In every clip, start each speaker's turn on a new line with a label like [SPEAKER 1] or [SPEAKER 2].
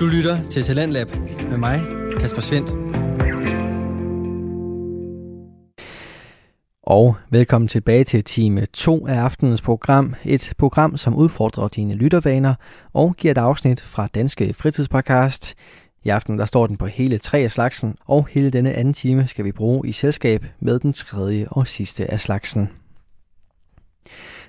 [SPEAKER 1] Du lytter til Talentlab med mig, Kasper Svendt. Og velkommen tilbage til time 2 af aftenens program. Et program, som udfordrer dine lyttervaner og giver et afsnit fra Danske Fritidspodcast. I aften der står den på hele tre af slagsen, og hele denne anden time skal vi bruge i selskab med den tredje og sidste af slagsen.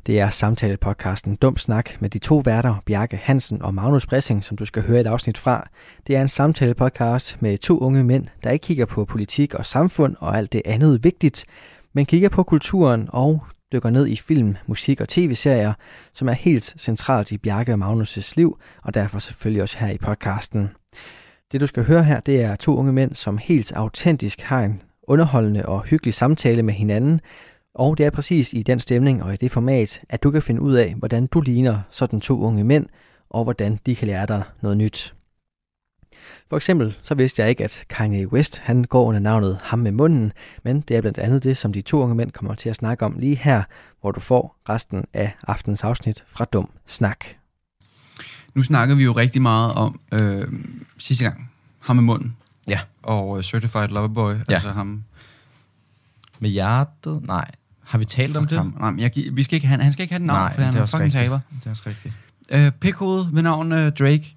[SPEAKER 1] Det er samtalepodcasten Dum Snak med de to værter, Bjarke Hansen og Magnus Bressing, som du skal høre et afsnit fra. Det er en samtalepodcast med to unge mænd, der ikke kigger på politik og samfund og alt det andet vigtigt, men kigger på kulturen og dykker ned i film, musik og tv-serier, som er helt centralt i Bjarke og Magnus' liv, og derfor selvfølgelig også her i podcasten. Det du skal høre her, det er to unge mænd, som helt autentisk har en underholdende og hyggelig samtale med hinanden, og det er præcis i den stemning og i det format, at du kan finde ud af, hvordan du ligner sådan to unge mænd, og hvordan de kan lære dig noget nyt. For eksempel så vidste jeg ikke, at Kanye West han går under navnet Ham med munden, men det er blandt andet det, som de to unge mænd kommer til at snakke om lige her, hvor du får resten af aftens afsnit fra Dum Snak.
[SPEAKER 2] Nu snakker vi jo rigtig meget om øh, sidste gang, ham med munden.
[SPEAKER 3] Ja.
[SPEAKER 2] Og uh, Certified Loverboy, ja. altså ham.
[SPEAKER 3] Med hjertet? Nej. Har vi talt om
[SPEAKER 2] Fuck
[SPEAKER 3] det?
[SPEAKER 2] Ham. Nej, men jeg, gi- vi skal ikke, han, han skal ikke have et navn,
[SPEAKER 3] Nej,
[SPEAKER 2] Nej, for han
[SPEAKER 3] det er
[SPEAKER 2] er
[SPEAKER 3] også
[SPEAKER 2] fucking
[SPEAKER 3] rigtigt.
[SPEAKER 2] taber.
[SPEAKER 3] Det er også rigtigt.
[SPEAKER 2] Øh, Pikhoved ved navn øh, Drake.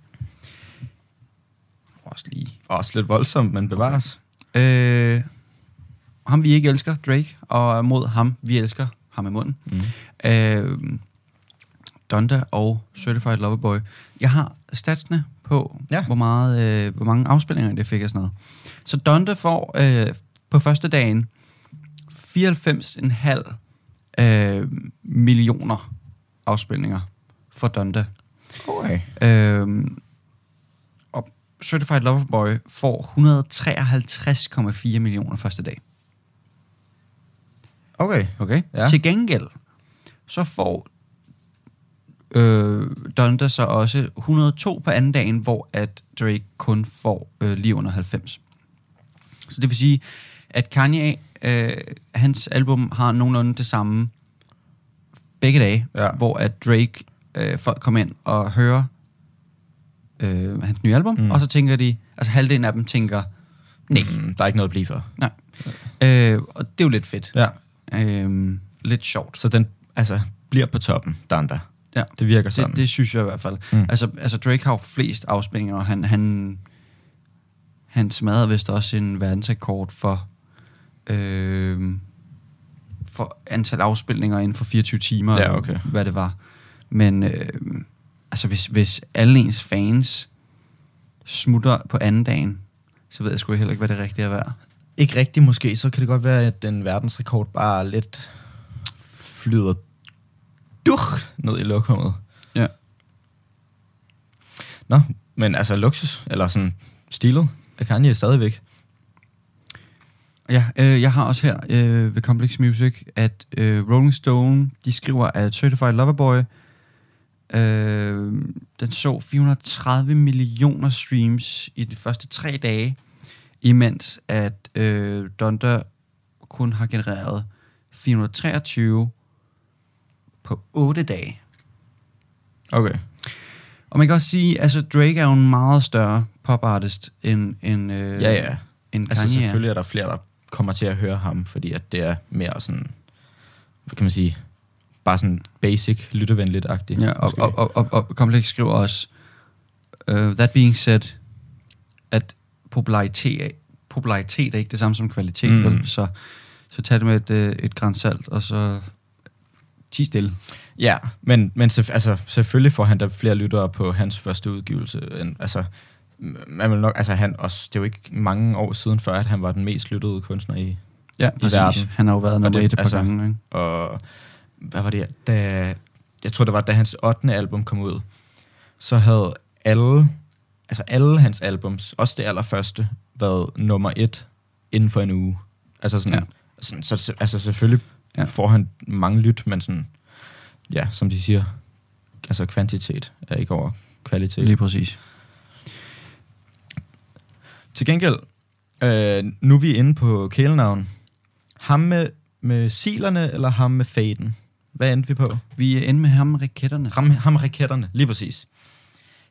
[SPEAKER 3] Også lige. Også lidt voldsomt, men bevares.
[SPEAKER 2] Øh, ham vi ikke elsker, Drake, og mod ham vi elsker, ham i munden. Mm. Øh, Donda og Certified Loverboy. Jeg har statsene på, ja.
[SPEAKER 3] Ja.
[SPEAKER 2] hvor, meget, øh, hvor mange afspilninger det fik og sådan noget. Så Donda får øh, på første dagen 94,5 øh, millioner afspilninger for Donda.
[SPEAKER 3] Okay.
[SPEAKER 2] Øh, og Certified Loverboy får 153,4 millioner første dag.
[SPEAKER 3] Okay.
[SPEAKER 2] Okay. Ja.
[SPEAKER 3] Ja.
[SPEAKER 2] Til gengæld, så får øh, Donda så også 102 på anden dagen, hvor at Drake kun får øh, lige under 90. Så det vil sige, at Kanye, øh, hans album har nogenlunde det samme begge dage,
[SPEAKER 3] Ja.
[SPEAKER 2] hvor at Drake, øh, folk kommer ind og hører øh, hans nye album, mm.
[SPEAKER 3] Mm.
[SPEAKER 2] og så tænker de, altså halvdelen af dem tænker, nej,
[SPEAKER 3] Mm, der er ikke noget at blive for.
[SPEAKER 2] nej. Øh, og det er jo lidt fedt.
[SPEAKER 3] Ja.
[SPEAKER 2] Øh, lidt sjovt.
[SPEAKER 3] Så den altså, bliver på toppen, Danda.
[SPEAKER 2] Ja.
[SPEAKER 3] Det virker sådan.
[SPEAKER 2] Det, det synes jeg i hvert fald. Mm.
[SPEAKER 3] Mm.
[SPEAKER 2] Altså, altså Drake har jo flest afspændinger, og han, han, han smadrede vist også en verdensrekord for, øh, for antal afspilninger inden for 24 timer,
[SPEAKER 3] Ja, okay.
[SPEAKER 2] hvad det var. Men øh, altså, hvis, hvis alle ens fans smutter på anden dagen, så ved jeg sgu heller ikke, hvad det rigtige er værd.
[SPEAKER 3] Ikke rigtigt måske, så kan det godt være, at den verdensrekord bare lidt flyder duh, ned i lokummet.
[SPEAKER 2] Ja.
[SPEAKER 3] Nå, men altså luksus, eller sådan stilet, af Kanye stadigvæk.
[SPEAKER 2] Ja, øh, jeg har også her øh, ved Complex Music, at øh, Rolling Stone, de skriver, at Certified Loverboy, øh, den så 430 millioner streams i de første tre dage, imens at øh, Donda kun har genereret 423 på 8 dage.
[SPEAKER 3] Okay.
[SPEAKER 2] Og man kan også sige, altså Drake er jo en meget større popartist end, end, øh,
[SPEAKER 3] Ja, ja.
[SPEAKER 2] end Kanye.
[SPEAKER 3] Altså
[SPEAKER 2] er.
[SPEAKER 3] selvfølgelig er der flere, der kommer til at høre ham, fordi at det er mere sådan, hvad kan man sige, bare sådan basic, lyttervenligt-agtigt.
[SPEAKER 2] Ja, og,
[SPEAKER 3] måske.
[SPEAKER 2] og, og, og, og Complex skriver også, uh, that being said, at popularitet, popularitet er ikke det samme som kvalitet, mm.
[SPEAKER 3] Mm.
[SPEAKER 2] vel? Så, så tag det med et, øh, et gran salt, og så ti stille.
[SPEAKER 3] ja men, men selvf- altså, selvfølgelig får han da flere lyttere på hans første udgivelse. End, altså, m- man vil nok, altså han også, det er jo ikke mange år siden før, at han var den mest lyttede kunstner i,
[SPEAKER 2] Ja,
[SPEAKER 3] verden.
[SPEAKER 2] Han har jo været nummer
[SPEAKER 3] det-
[SPEAKER 2] et et par altså,
[SPEAKER 3] altså-
[SPEAKER 2] gange, ikke?
[SPEAKER 3] og hvad var det, da, jeg tror det var, da hans 8. album kom ud, så havde alle, altså alle hans albums, også det allerførste, været nummer et inden for en uge. Altså sådan,
[SPEAKER 2] Ja.
[SPEAKER 3] ja. sådan så, altså selvfølgelig
[SPEAKER 2] Ja.
[SPEAKER 3] ja. får han mange lyt, men sådan, ja, som de siger, altså kvantitet er ikke over kvalitet.
[SPEAKER 2] Lige præcis.
[SPEAKER 3] Til gengæld, øh, nu er vi inde på kælenavn. Ham med, med silerne, eller ham med faden? Hvad endte vi på?
[SPEAKER 2] Vi er inde med ham med raketterne.
[SPEAKER 3] Ham, ham raketterne, lige præcis.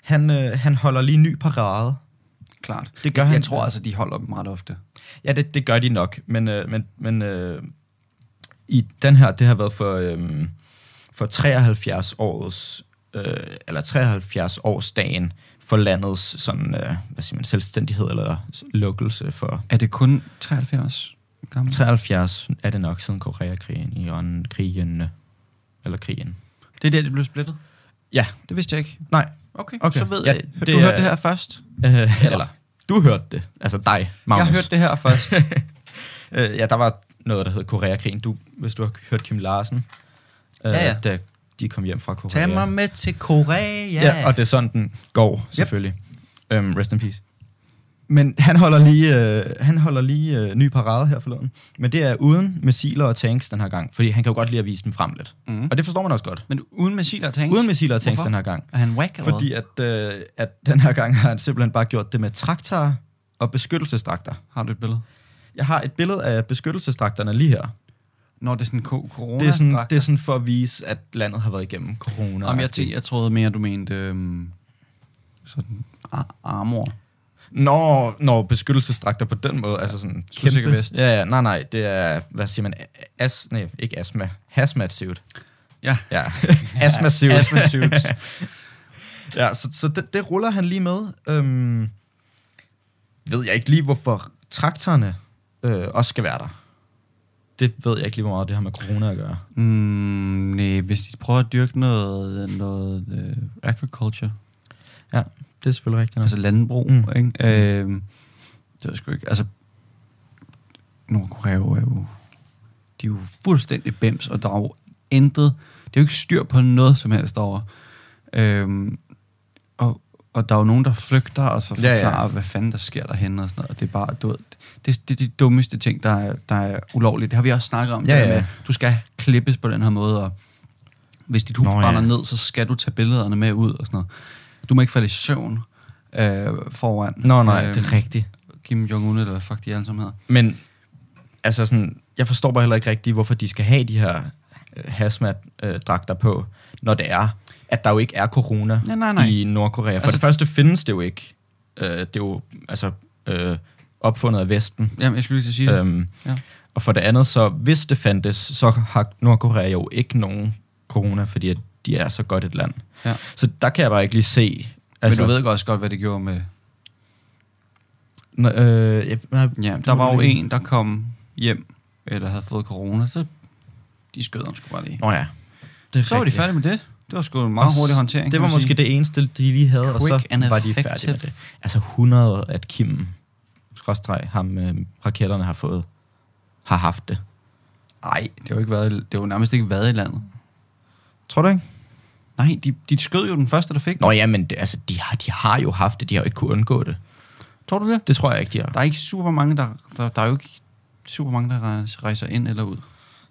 [SPEAKER 3] Han, øh, han holder lige ny parade.
[SPEAKER 2] Klart.
[SPEAKER 3] Det gør
[SPEAKER 2] Jeg,
[SPEAKER 3] han.
[SPEAKER 2] jeg tror altså, de holder dem ret ofte.
[SPEAKER 3] Ja, det, det gør de nok, men, øh, men, men øh, i den her, det har været for, øh, for 73 års øh, eller 73 årsdagen for landets sådan, øh, hvad siger man, selvstændighed eller lukkelse for
[SPEAKER 2] Er det kun 73 gamle?
[SPEAKER 3] 73 er det nok siden Koreakrigen, Iran, krigen, eller krigen.
[SPEAKER 2] Det er der, det blev splittet?
[SPEAKER 3] Ja.
[SPEAKER 2] Det vidste jeg ikke.
[SPEAKER 3] Nej,
[SPEAKER 2] Okay,
[SPEAKER 3] Okay.
[SPEAKER 2] så ved
[SPEAKER 3] Ja,
[SPEAKER 2] jeg. Du
[SPEAKER 3] det
[SPEAKER 2] hørte
[SPEAKER 3] er-
[SPEAKER 2] det her først?
[SPEAKER 3] øh, eller du hørte det, altså dig, Magnus.
[SPEAKER 2] Jeg hørte det her først.
[SPEAKER 3] Øh, ja, der var noget, der hed Koreakrigen. Du, hvis du har hørt Kim Larsen, øh,
[SPEAKER 2] Ja, ja.
[SPEAKER 3] da de kom hjem fra Korea.
[SPEAKER 2] Tag mig med til Korea.
[SPEAKER 3] Ja. ja, og det er sådan, den går, selvfølgelig. Yep. Um, rest in peace. Men han holder lige, øh, han holder lige øh, ny parade her forleden. Men det er uden missiler og tanks den her gang, fordi han kan jo godt lide at vise dem frem lidt.
[SPEAKER 2] Mhm.
[SPEAKER 3] Mm. Og det forstår man også godt.
[SPEAKER 2] Men uden missiler og tanks?
[SPEAKER 3] Uden missiler og tanks
[SPEAKER 2] Hvorfor?
[SPEAKER 3] den her gang.
[SPEAKER 2] Er han whack eller
[SPEAKER 3] Fordi at, øh, at den her gang har han simpelthen bare gjort det med traktorer og beskyttelsestrakter.
[SPEAKER 2] hvad? Har du et billede?
[SPEAKER 3] Jeg har et billede af beskyttelsestraktorerne lige her.
[SPEAKER 2] Når det er sådan ko- corona
[SPEAKER 3] Det er, sådan, det er sådan for at vise, at landet har været igennem corona.
[SPEAKER 2] Jamen, jeg, tæ- jeg troede mere, du mente øhm, sådan ar- armor.
[SPEAKER 3] Når, når beskyttelsesdragter på den måde, altså sådan
[SPEAKER 2] Skudsikker vest.
[SPEAKER 3] Ja, ja, nej, nej, det er, hvad siger man, as, nej, ikke astma, hazmat suit.
[SPEAKER 2] Ja.
[SPEAKER 3] Ja, astma suit.
[SPEAKER 2] Asthma suits.
[SPEAKER 3] ja, så, så det, det, ruller han lige med. Øhm, ved jeg ikke lige, hvorfor traktorerne øh, også skal være der. Det ved jeg ikke lige, hvor meget det har med corona at gøre.
[SPEAKER 2] mm, nej, hvis de prøver at dyrke noget, noget øh, agriculture,
[SPEAKER 3] Ja, det er selvfølgelig rigtigt.
[SPEAKER 2] altså landbrug,
[SPEAKER 3] Mm.
[SPEAKER 2] mm. ikke? Øhm, det var sgu ikke, altså, Nordkorea er jo, de er jo fuldstændig bims, og der er jo intet, det er jo ikke styr på noget som helst derovre. Øhm, og, og der er jo nogen, der flygter, og så
[SPEAKER 3] Ja, ja.
[SPEAKER 2] forklarer, ja, ja. hvad fanden der sker derhenne, og sådan noget, og det er bare, du ved, det, det er de dummeste ting, der er, der er ulovlige. Det har vi også snakket om,
[SPEAKER 3] Ja,
[SPEAKER 2] det der
[SPEAKER 3] ja.
[SPEAKER 2] med, du skal klippes på den her måde, og hvis dit hus
[SPEAKER 3] Nå,
[SPEAKER 2] Nå,
[SPEAKER 3] ja.
[SPEAKER 2] brænder ned, så skal du tage billederne med ud og sådan noget. Du må ikke falde i søvn øh, foran
[SPEAKER 3] Nå, nej,
[SPEAKER 2] øh,
[SPEAKER 3] det er rigtigt.
[SPEAKER 2] Kim Jong-un, eller hvad fuck de alle sammen hedder.
[SPEAKER 3] Men altså sådan, jeg forstår bare heller ikke rigtigt, hvorfor de skal have de her øh, hazmat-dragter på, når det er, at der jo ikke er corona
[SPEAKER 2] Ja, nej, nej.
[SPEAKER 3] i Nordkorea. For altså,
[SPEAKER 2] Altså-
[SPEAKER 3] det første findes det jo ikke. Øh, det er jo altså, øh, opfundet af Vesten.
[SPEAKER 2] Jamen, jeg skulle lige til at sige det.
[SPEAKER 3] Øhm,
[SPEAKER 2] Ja.
[SPEAKER 3] Og for det andet, så hvis det fandtes, så har Nordkorea jo ikke nogen corona, fordi at de er så godt et land.
[SPEAKER 2] Ja.
[SPEAKER 3] Så der kan jeg bare ikke lige se...
[SPEAKER 2] Altså, Men du ved også godt, hvad det gjorde med...
[SPEAKER 3] Nå, øh, jeg, nej,
[SPEAKER 2] Ja, der var jo en, der kom hjem, eller havde fået corona, så de skød ham sgu bare lige.
[SPEAKER 3] Nå ja. Det er
[SPEAKER 2] Så var de
[SPEAKER 3] rigtigt.
[SPEAKER 2] færdige med det. Det var sgu en meget hurtig håndtering.
[SPEAKER 3] Det
[SPEAKER 2] kan
[SPEAKER 3] var
[SPEAKER 2] man sige.
[SPEAKER 3] måske det eneste, de lige havde, Quick og
[SPEAKER 2] Quick
[SPEAKER 3] så
[SPEAKER 2] and
[SPEAKER 3] var de
[SPEAKER 2] effective.
[SPEAKER 3] færdige med det. Altså 100, at Kim, skråstreg, ham øh, raketterne har fået, har haft det.
[SPEAKER 2] Ej, det har jo ikke været, det har jo nærmest ikke været i landet.
[SPEAKER 3] Tror du ikke?
[SPEAKER 2] Nej, de, de skød jo den første, der fik den.
[SPEAKER 3] Nå ja, men det, altså, de, har, de har jo haft det, de har jo ikke kunnet undgå det.
[SPEAKER 2] Tror du det?
[SPEAKER 3] Det tror jeg ikke, de har.
[SPEAKER 2] Der er ikke super mange, der, der, der er jo ikke super mange, der rejser- rejser ind eller ud.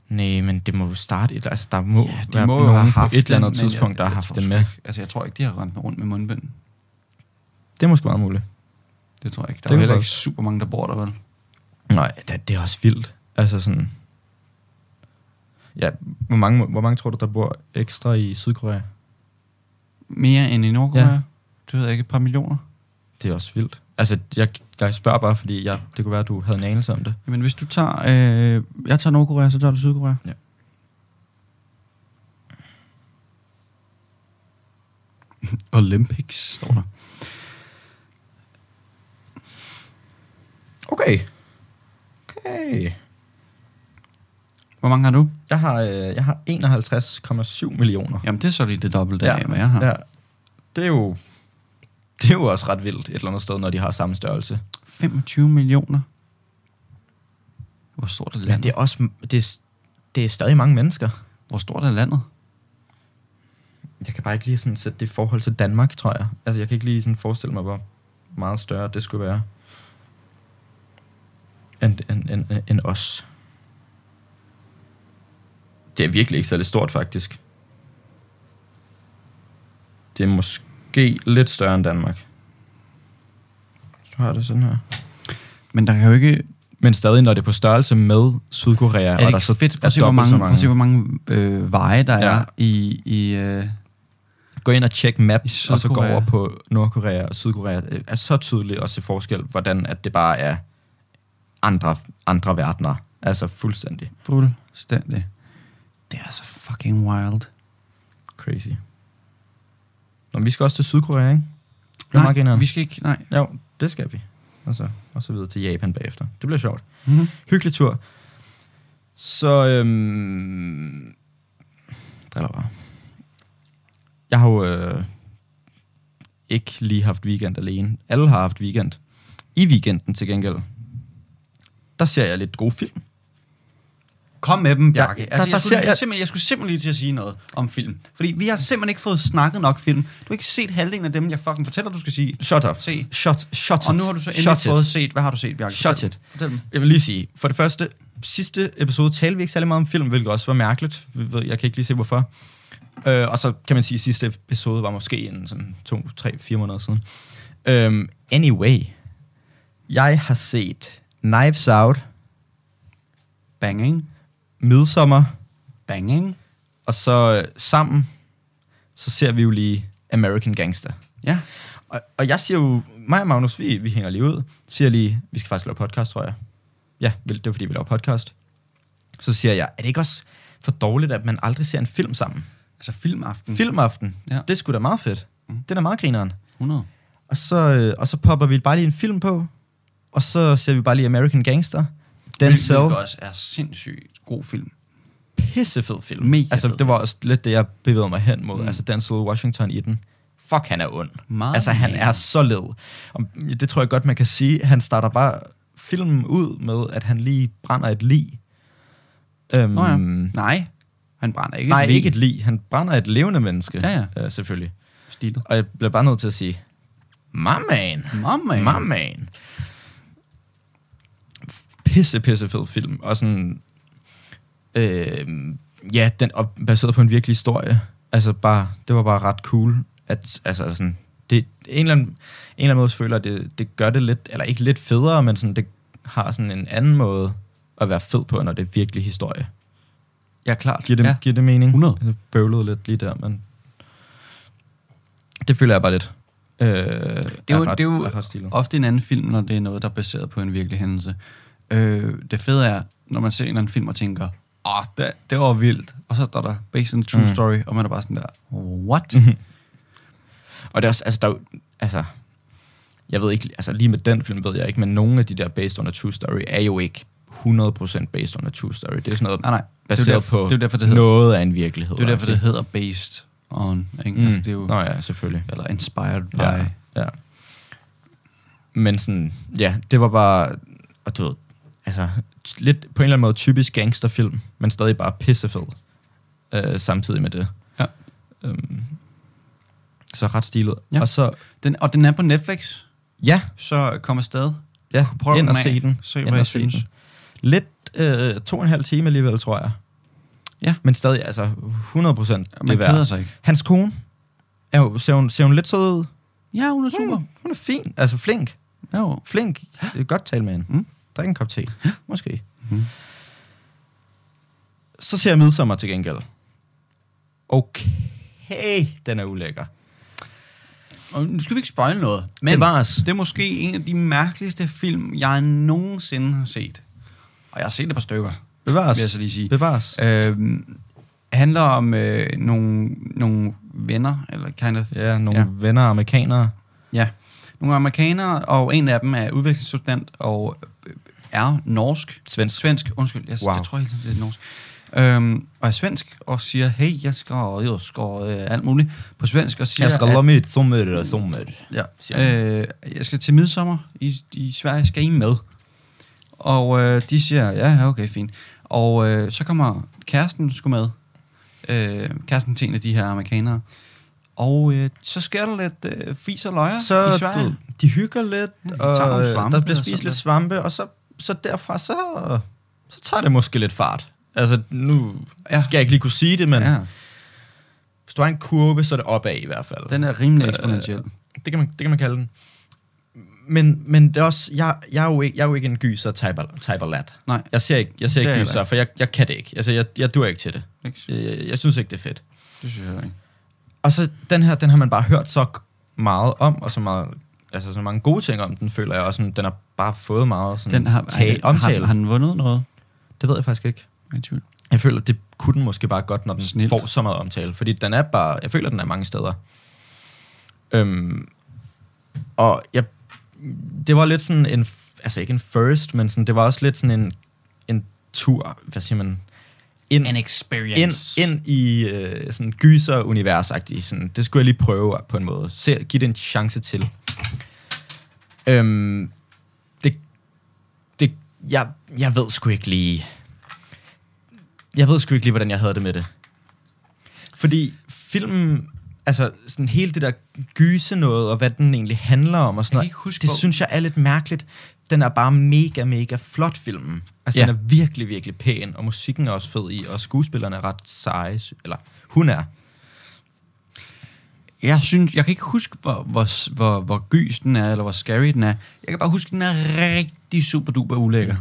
[SPEAKER 3] Nej, men det må jo starte et, altså der må,
[SPEAKER 2] Ja, de
[SPEAKER 3] være
[SPEAKER 2] må jo
[SPEAKER 3] nogen
[SPEAKER 2] have
[SPEAKER 3] på
[SPEAKER 2] haft
[SPEAKER 3] et eller
[SPEAKER 2] den,
[SPEAKER 3] andet
[SPEAKER 2] men
[SPEAKER 3] tidspunkt,
[SPEAKER 2] jeg-
[SPEAKER 3] der har
[SPEAKER 2] jeg
[SPEAKER 3] haft
[SPEAKER 2] tror
[SPEAKER 3] det
[SPEAKER 2] sgu
[SPEAKER 3] med.
[SPEAKER 2] ikke- Altså, jeg tror ikke, de har rendt rundt med mundbind.
[SPEAKER 3] Det er måske meget muligt.
[SPEAKER 2] Det tror jeg ikke. Der
[SPEAKER 3] Det
[SPEAKER 2] er jo
[SPEAKER 3] kan
[SPEAKER 2] heller
[SPEAKER 3] godt.
[SPEAKER 2] ikke super mange, der bor der, vel?
[SPEAKER 3] Nej, det, det er også vildt. Altså sådan... Ja, hvor mange, hvor mange tror du, der bor ekstra i Sydkorea?
[SPEAKER 2] Mere end i Nordkorea?
[SPEAKER 3] Ja.
[SPEAKER 2] Ja. Det ved jeg ikke. Et par millioner?
[SPEAKER 3] Det er også vildt. Altså, jeg, jeg spørger bare, fordi jeg, det kunne være, at du havde en anelse om det.
[SPEAKER 2] Jamen, hvis du tager... Øh, jeg tager Nordkorea, så tager du Sydkorea.
[SPEAKER 3] Ja.
[SPEAKER 2] Olympics, står der.
[SPEAKER 3] Okay. Okay.
[SPEAKER 2] Hvor mange har du?
[SPEAKER 3] Jeg har, øh, jeg har 51,7 millioner.
[SPEAKER 2] Jamen, det er så lige det dobbelte ja. af, hvad jeg har. Ja.
[SPEAKER 3] ja. Det er jo... Det er jo også ret vildt et eller andet sted, når de har samme størrelse.
[SPEAKER 2] 25 millioner. Hvor stort er
[SPEAKER 3] Men
[SPEAKER 2] landet?
[SPEAKER 3] det er også... Det er, det er stadig mange mennesker.
[SPEAKER 2] Hvor stort er landet?
[SPEAKER 3] Jeg kan bare ikke lige sådan sætte det i forhold til Danmark, tror jeg. Altså, jeg kan ikke lige sådan forestille mig, hvor meget større det skulle være. End, end, end, end- end os. Det er virkelig ikke særlig stort, faktisk. Det er måske lidt større end Danmark. Så har jeg det sådan her.
[SPEAKER 2] Men der kan jo ikke...
[SPEAKER 3] Men stadig, når det er på størrelse med Sydkorea,
[SPEAKER 2] Er det
[SPEAKER 3] og der
[SPEAKER 2] ikke
[SPEAKER 3] så
[SPEAKER 2] fedt? Prøv
[SPEAKER 3] er
[SPEAKER 2] at se, hvor
[SPEAKER 3] dobbelt
[SPEAKER 2] mange,
[SPEAKER 3] så
[SPEAKER 2] mange. Prøv at se, hvor mange øh, veje der ja.
[SPEAKER 3] Ja.
[SPEAKER 2] er i... i øh,
[SPEAKER 3] Gå ind og tjek maps,
[SPEAKER 2] I
[SPEAKER 3] og så gå
[SPEAKER 2] Sydkorea.
[SPEAKER 3] over på Nordkorea og Sydkorea. Det er så tydeligt at se forskel, hvordan at det bare er andre, andre verdener. Altså fuldstændig
[SPEAKER 2] Fuldstændig. Det er så fucking wild.
[SPEAKER 3] crazy. Nå, men vi skal også til Sydkorea, ikke? Det er meget
[SPEAKER 2] Nej,
[SPEAKER 3] grineren.
[SPEAKER 2] vi skal ikke, nej.
[SPEAKER 3] Jo, det skal vi. Og så, og så videre til Japan bagefter. Det bliver sjovt.
[SPEAKER 2] Mm-hmm.
[SPEAKER 3] Hyggelig tur. Så, øhm, driller bare. Jeg har jo øh, ikke lige haft weekend alene. Alle har haft weekend. I weekenden til gengæld, der ser jeg lidt gode film.
[SPEAKER 2] Kom med dem,
[SPEAKER 3] Ja,
[SPEAKER 2] Bjarke.
[SPEAKER 3] der-
[SPEAKER 2] Ja, altså,
[SPEAKER 3] der
[SPEAKER 2] jeg, skulle,
[SPEAKER 3] ser
[SPEAKER 2] jeg,
[SPEAKER 3] jeg-
[SPEAKER 2] simpelthen, jeg skulle simpelthen lige til at sige noget om film. Fordi vi har simpelthen ikke fået snakket nok film. Du har ikke set halvdelen af dem, jeg fucking fortæller, du skal sige.
[SPEAKER 3] Shut up.
[SPEAKER 2] Se.
[SPEAKER 3] Shut, shut it.
[SPEAKER 2] Og nu har du så endelig
[SPEAKER 3] Shut it.
[SPEAKER 2] fået set, hvad har du set, Bjarke?
[SPEAKER 3] Shut
[SPEAKER 2] Fortæl-
[SPEAKER 3] it.
[SPEAKER 2] Fortæl dem.
[SPEAKER 3] Jeg vil lige sige, for det første, sidste episode talte vi ikke særlig meget om film, hvilket også var mærkeligt. Vi ved- Jeg kan ikke lige se, hvorfor. Øh, og så kan man sige, at sidste episode var måske en sådan to, tre, fire måneder siden. Øhm, anyway, jeg har set Knives Out,
[SPEAKER 2] Banging.
[SPEAKER 3] Midsommer,
[SPEAKER 2] Banging.
[SPEAKER 3] og så øh, sammen, så ser vi jo lige American Gangster.
[SPEAKER 2] Ja.
[SPEAKER 3] Og, og jeg siger jo, mig og Magnus, vi, vi hænger lige ud, siger lige, vi skal faktisk lave podcast, tror jeg. Ja, vel, det var fordi, vi laver podcast. Så siger jeg, er det ikke også for dårligt, at man aldrig ser en film sammen?
[SPEAKER 2] Altså filmaften.
[SPEAKER 3] Mm. Filmaften,
[SPEAKER 2] Ja.
[SPEAKER 3] ja. det er sgu da meget fedt.
[SPEAKER 2] Mm.
[SPEAKER 3] Mm. Det er da meget grineren.
[SPEAKER 2] 100.
[SPEAKER 3] Og så, øh, og så popper vi bare lige en film på, og så ser vi bare lige American Gangster. Den
[SPEAKER 2] Hvilket
[SPEAKER 3] selv
[SPEAKER 2] også er sindssygt god film.
[SPEAKER 3] pissefed film.
[SPEAKER 2] Mega
[SPEAKER 3] altså,
[SPEAKER 2] fed.
[SPEAKER 3] det var også lidt det, jeg bevægede mig hen mod.
[SPEAKER 2] Mm.
[SPEAKER 3] Mm. Altså, Denzel Washington i den. Fuck, han er ond.
[SPEAKER 2] Meget
[SPEAKER 3] altså, han
[SPEAKER 2] mere.
[SPEAKER 3] er så led. Og det tror jeg godt, man kan sige. Han starter bare filmen ud med, at han lige brænder et lig. Øhm,
[SPEAKER 2] Nå ja. Nej, han brænder ikke.
[SPEAKER 3] Nej,
[SPEAKER 2] et lig.
[SPEAKER 3] ikke et lig. Han brænder et levende menneske,
[SPEAKER 2] Ja,
[SPEAKER 3] Øh, selvfølgelig.
[SPEAKER 2] Stilet.
[SPEAKER 3] Og jeg bliver bare nødt til at sige, my man,
[SPEAKER 2] Mamma.
[SPEAKER 3] my man. Pisse, pisse fed film. Og sådan, øh, ja, den er baseret på en virkelig historie. Altså bare, det var bare ret cool, at altså sådan, det, en, eller anden, en eller anden måde føler, jeg, at det, det gør det lidt, eller ikke lidt federe, men sådan, det har sådan en anden måde at være fed på, når det er virkelig historie.
[SPEAKER 2] Ja, klart.
[SPEAKER 3] Giver det,
[SPEAKER 2] ja.
[SPEAKER 3] ja. giver det mening?
[SPEAKER 2] 100.
[SPEAKER 3] Jeg bøvlede lidt lige der, men det føler jeg bare lidt. Øh, det er
[SPEAKER 2] det er jo, det er jo
[SPEAKER 3] er ret stilet.
[SPEAKER 2] ofte en anden film, når det er noget, der er baseret på en virkelig hændelse. Øh, det fede er, når man ser en eller anden film og tænker, åh, oh, det, det var vildt. Og så står der, based on true mm.
[SPEAKER 3] Mm. Mhm.
[SPEAKER 2] story, og man er bare sådan der, what?
[SPEAKER 3] Og det er også, altså, der er jo, altså, jeg ved ikke, altså lige med den film ved jeg ikke, men nogle af de der based on a true story er jo ikke 100% based on a true story. Det er sådan noget
[SPEAKER 2] nej, nej. Det er
[SPEAKER 3] baseret
[SPEAKER 2] jo derfor,
[SPEAKER 3] på
[SPEAKER 2] det er jo derfor, det hedder,
[SPEAKER 3] noget af en virkelighed.
[SPEAKER 2] det, er jo derfor, det
[SPEAKER 3] agtigt.
[SPEAKER 2] hedder based on. Ikke? Mm.
[SPEAKER 3] Mm.
[SPEAKER 2] Altså, det er jo,
[SPEAKER 3] Nå ja, selvfølgelig.
[SPEAKER 2] eller inspired by.
[SPEAKER 3] Ja, ja. Men sådan, ja, det var bare, og du ved, altså, t- lidt på en eller anden måde typisk gangsterfilm, men stadig bare pissefed øh, samtidig med det.
[SPEAKER 2] Ja.
[SPEAKER 3] Øhm, så ret stilet.
[SPEAKER 2] Ja.
[SPEAKER 3] Og så,
[SPEAKER 2] Den, og den er på Netflix,
[SPEAKER 3] ja,
[SPEAKER 2] så kom afsted.
[SPEAKER 3] ja
[SPEAKER 2] Prøv
[SPEAKER 3] ind
[SPEAKER 2] den
[SPEAKER 3] og
[SPEAKER 2] af.
[SPEAKER 3] se den.
[SPEAKER 2] Se,
[SPEAKER 3] Ind
[SPEAKER 2] hvad
[SPEAKER 3] og
[SPEAKER 2] jeg
[SPEAKER 3] se
[SPEAKER 2] synes.
[SPEAKER 3] den. Lidt øh, to og en halv time alligevel, tror jeg.
[SPEAKER 2] Ja.
[SPEAKER 3] Men stadig, altså 100 procent
[SPEAKER 2] Man
[SPEAKER 3] det
[SPEAKER 2] keder
[SPEAKER 3] værd.
[SPEAKER 2] sig ikke.
[SPEAKER 3] Hans kone, er jo, ser, hun, ser hun lidt sød ud?
[SPEAKER 2] Ja, hun er super.
[SPEAKER 3] Hun, hun er fin, altså flink.
[SPEAKER 2] Ja, jo.
[SPEAKER 3] Flink. Det er godt tale med hende.
[SPEAKER 2] Mm.
[SPEAKER 3] Mm. Drik en kop te. Måske.
[SPEAKER 2] Mm.
[SPEAKER 3] Mm. Så ser jeg midsommer til gengæld. Okay, den er ulækker.
[SPEAKER 2] Og nu skal vi ikke spoil noget, men
[SPEAKER 3] Men, det var os.
[SPEAKER 2] det er måske en af de mærkeligste film, jeg nogensinde har set. Og jeg har set et par stykker,
[SPEAKER 3] Det var
[SPEAKER 2] vil jeg så
[SPEAKER 3] os.
[SPEAKER 2] lige sige.
[SPEAKER 3] Det var os.
[SPEAKER 2] Øhm, handler om øh, nogle, nogle venner, eller kind of,
[SPEAKER 3] Ja, nogle ja. venner amerikanere.
[SPEAKER 2] ja. Nogle amerikanere, og en af dem er udvekslingsstudent og øh, er norsk.
[SPEAKER 3] Svensk.
[SPEAKER 2] Svensk, undskyld, jeg, wow.
[SPEAKER 3] Wow.
[SPEAKER 2] jeg tror helt tiden, det er norsk. Øhm, og er svensk, og siger, hey, jeg skal, jeg skal øh, alt muligt på svensk, og siger,
[SPEAKER 3] Jeg skal
[SPEAKER 2] at-
[SPEAKER 3] lade mit sommer og sommer.
[SPEAKER 2] Ja.
[SPEAKER 3] siger
[SPEAKER 2] Øh, jeg skal til midsommer i, i Sverige. Skal I med? Og øh, de siger, ja, ja, okay, fint. Og øh, så kommer kæresten sgu med. Øh, kæresten til en af de her amerikanere. Og øh, så sker der lidt øh, fis og løjer i
[SPEAKER 3] Så
[SPEAKER 2] Sverige.
[SPEAKER 3] du, de hygger lidt,
[SPEAKER 2] Ja, de
[SPEAKER 3] og
[SPEAKER 2] tager nogle
[SPEAKER 3] øh,
[SPEAKER 2] svampe
[SPEAKER 3] der bliver
[SPEAKER 2] og
[SPEAKER 3] spist
[SPEAKER 2] sådan
[SPEAKER 3] lidt
[SPEAKER 2] lidt.
[SPEAKER 3] svampe, og så, så derfra, så, så tager det måske lidt fart. Altså, nu
[SPEAKER 2] Ja.
[SPEAKER 3] skal jeg ikke lige kunne sige det, men...
[SPEAKER 2] Ja,
[SPEAKER 3] Hvis du har en kurve, så er det opad i hvert fald.
[SPEAKER 2] den er rimelig eksponentiel.
[SPEAKER 3] Det, kan man, det kan man kalde den. Men, men det er også, jeg, jeg, er jo ikke, jeg er jo ikke en gyser type, type lat.
[SPEAKER 2] Nej.
[SPEAKER 3] Jeg ser ikke, jeg ser
[SPEAKER 2] Det er
[SPEAKER 3] ikke
[SPEAKER 2] jeg heller
[SPEAKER 3] gyser, for jeg, jeg kan det ikke. Altså, jeg, jeg dur ikke til det.
[SPEAKER 2] Ikke?
[SPEAKER 3] Jeg, jeg synes ikke, det er fedt.
[SPEAKER 2] Det synes jeg ikke.
[SPEAKER 3] Og så den her, den har man bare hørt så meget om, og så, meget, altså, så mange gode ting om den, føler jeg også. Sådan, den har bare fået meget sådan,
[SPEAKER 2] Den har,
[SPEAKER 3] tale,
[SPEAKER 2] har,
[SPEAKER 3] omtale.
[SPEAKER 2] har, har den vundet noget?
[SPEAKER 3] det ved jeg faktisk ikke.
[SPEAKER 2] Jeg er i tvivl.
[SPEAKER 3] Jeg føler, det kunne den måske bare godt, når den
[SPEAKER 2] Snilt.
[SPEAKER 3] Snilt. får så meget omtale. Fordi den er bare... Jeg føler, den er mange steder. Øhm, og jeg, det var lidt sådan en... f- Altså ikke en first, men sådan, det var også lidt sådan en, en tur... Hvad siger man? Ind,
[SPEAKER 4] An
[SPEAKER 3] ind,
[SPEAKER 4] experience.
[SPEAKER 3] ind i øh, sådan gyser univers sådan, Det skulle jeg lige prøve på en måde. Se, give det en chance til. Øhm, det, det, jeg, jeg ved sgu ikke lige... Jeg ved sgu ikke lige, hvordan jeg havde det med det. Fordi filmen, altså sådan hele det der gyse noget, og hvad den egentlig handler om og sådan
[SPEAKER 2] Jeg kan
[SPEAKER 3] noget,
[SPEAKER 2] ikke huske,
[SPEAKER 3] det
[SPEAKER 2] hvor-
[SPEAKER 3] synes jeg er lidt mærkeligt. Den er bare mega, mega flot filmen. Altså
[SPEAKER 2] Ja.
[SPEAKER 3] ja. den er virkelig, virkelig pæn, og musikken er også fed i, og skuespillerne er ret seje, sy- eller hun er.
[SPEAKER 2] Jeg synes, jeg kan ikke huske, hvor, hvor, hvor, hvor gys den er, eller hvor scary den er. Jeg kan bare huske, den er rigtig super duper ulækker.
[SPEAKER 3] Mm.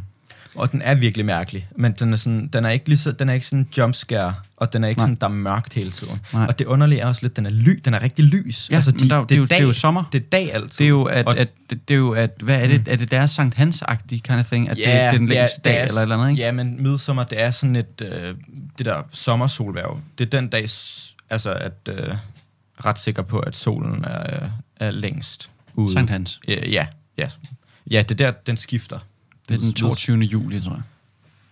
[SPEAKER 3] Og den er virkelig mærkelig, men den er, sådan, den er ikke lige så, den er ikke sådan jumpscare, og den er ikke
[SPEAKER 2] Nej.
[SPEAKER 3] sådan, der er mørkt hele tiden.
[SPEAKER 2] Nej.
[SPEAKER 3] Nej. Og det underlige er også lidt, den er ly, den er rigtig lys. Altså,
[SPEAKER 2] Ja, men der- det er jo- det er jo sommer.
[SPEAKER 3] Det er dag altid.
[SPEAKER 2] Det er jo, at,
[SPEAKER 3] Og- Mm.
[SPEAKER 2] at, det, det er jo, at hvad er det? Er det deres Sankt Hans-agtige kind of thing? At det, det er den længste dag, eller et eller andet, ikke?
[SPEAKER 3] Ja, men midsommer, det er sådan et, øh, det der sommersolværv. Det er den dag, s- altså at øh, ret sikker på, at solen er, øh, er længst ude.
[SPEAKER 2] Sankt Hans.
[SPEAKER 3] Øh, ja, ja. Ja, det er der, den skifter.
[SPEAKER 2] Det er den
[SPEAKER 3] Mids-
[SPEAKER 2] 22. juli, tror jeg.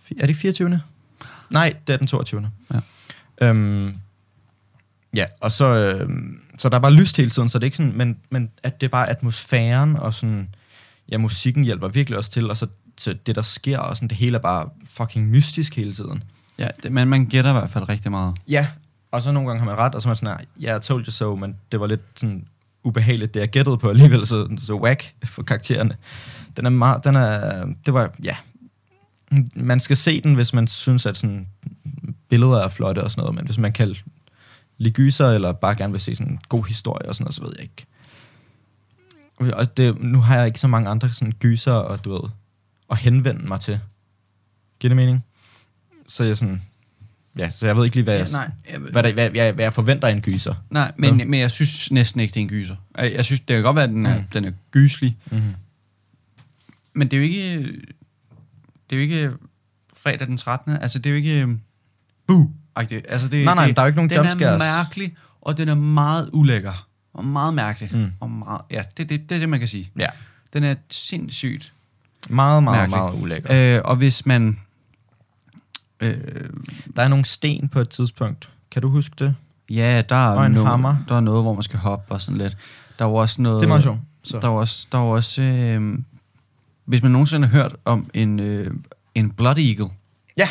[SPEAKER 3] Fi- Er det 24. Nej, det er den 22.
[SPEAKER 2] Ja.
[SPEAKER 3] Øhm, ja, og så, øhm, så der er bare lyst hele tiden, så det er ikke sådan, men, men at det er bare atmosfæren og sådan, ja, musikken hjælper virkelig også til, og så, så det, der sker, og sådan, det hele er bare fucking mystisk hele tiden.
[SPEAKER 2] Ja, det, men man gætter i hvert fald rigtig meget.
[SPEAKER 3] Ja, og så nogle gange har man ret, og så er man sådan, ja, yeah, I told you so, men det var lidt sådan ubehageligt, det jeg gættede på alligevel, så, så whack for karaktererne. Den er meget, den er, det var, ja, man skal se den, hvis man synes, at sådan, billeder er flotte og sådan noget, men hvis man kan lide gyser, eller bare gerne vil se sådan en god historie og sådan noget, så ved jeg ikke. Og det, nu har jeg ikke så mange andre sådan gyser og du ved, at henvende mig til. Giver det mening? Så jeg sådan, ja, så jeg ved ikke lige, hvad jeg,
[SPEAKER 2] jeg,
[SPEAKER 3] hvad, der, hvad, jeg, hvad jeg forventer af en gyser.
[SPEAKER 2] Nej, men, ja. men jeg synes næsten ikke, det er en gyser. Jeg, jeg synes, det kan godt være, at den er, mm. den er gyselig.
[SPEAKER 3] Mm-hmm.
[SPEAKER 2] Men det er jo ikke... Det er jo ikke fredag den 13. Altså, det er jo ikke... bu -agtigt. Altså, det,
[SPEAKER 3] Nej, nej,
[SPEAKER 2] det,
[SPEAKER 3] der er jo ikke nogen
[SPEAKER 2] Den er
[SPEAKER 3] jumpscares.
[SPEAKER 2] mærkelig, og den er meget ulækker. Og meget mærkelig. Mm.
[SPEAKER 3] Mm.
[SPEAKER 2] Og meget, ja, det, det, det er det, man kan sige.
[SPEAKER 3] Ja.
[SPEAKER 2] Den er sindssygt
[SPEAKER 3] Meget, meget,
[SPEAKER 2] Mærkeligt.
[SPEAKER 3] Mærkeligt. meget ulækker.
[SPEAKER 2] øh, Og hvis man... Øh,
[SPEAKER 3] Der er nogle sten på et tidspunkt. Kan du huske det?
[SPEAKER 2] ja, der er,
[SPEAKER 3] Og en
[SPEAKER 2] no-
[SPEAKER 3] hammer.
[SPEAKER 2] der er noget, hvor man skal hoppe og sådan lidt. Der er jo også noget...
[SPEAKER 3] Det er meget sjovt.
[SPEAKER 2] Så.
[SPEAKER 3] Så.
[SPEAKER 2] Der var også, der var også øh, hvis man nogensinde har hørt om en, øh, en Blood Eagle.
[SPEAKER 3] Ja.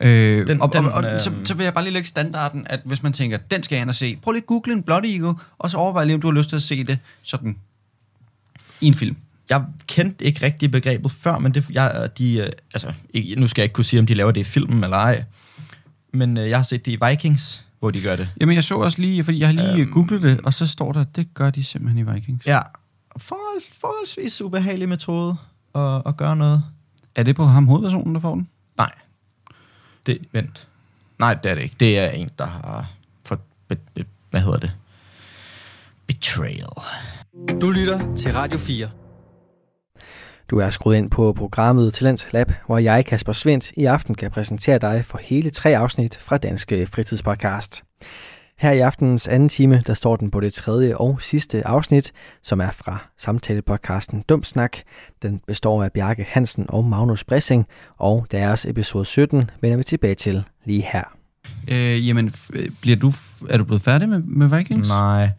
[SPEAKER 2] Øh, den,
[SPEAKER 3] Den-
[SPEAKER 2] og,
[SPEAKER 3] den,
[SPEAKER 2] og, og, så,
[SPEAKER 3] øhm.
[SPEAKER 2] så vil jeg bare lige lægge standarden, at hvis man tænker, den skal jeg ind og se, prøv lige at google en Blood Eagle, og så overvej lige, om du har lyst til at se det sådan i en film.
[SPEAKER 3] Jeg kendte ikke rigtig begrebet før, men det, jeg, de, øh, altså, ikke, nu skal jeg ikke kunne sige, om de laver det i filmen eller ej. Men øh, jeg har set det i Vikings, hvor de gør det.
[SPEAKER 2] Jamen, jeg så også lige, fordi jeg har lige øhm.
[SPEAKER 3] Øhm.
[SPEAKER 2] googlet det, og så står der, at det gør de simpelthen i Vikings.
[SPEAKER 3] Ja. Forhold, forholdsvis ubehagelig metode at, at gøre noget.
[SPEAKER 2] Er det på ham hovedpersonen, der får den?
[SPEAKER 3] Nej. Det, vent. Nej, det er det ikke. Det er en, der har... For, be, be, hvad hedder det? Betrayal.
[SPEAKER 1] Du lytter til Radio 4. Du er skruet ind på programmet Talents Lab, hvor jeg, Kasper Svendt, i aften kan præsentere dig for hele tre afsnit fra Danske Fritidspodcast. Her i aftenens anden time, der står den på det tredje og sidste afsnit, som er fra samtalepodcasten Dumsnak. Den består af Bjarke Hansen og Magnus Bressing, og deres episode 17 vender vi tilbage til lige her.
[SPEAKER 2] Øh, jamen, f- bliver du, f- er du blevet færdig med, med Vikings?
[SPEAKER 3] Nej.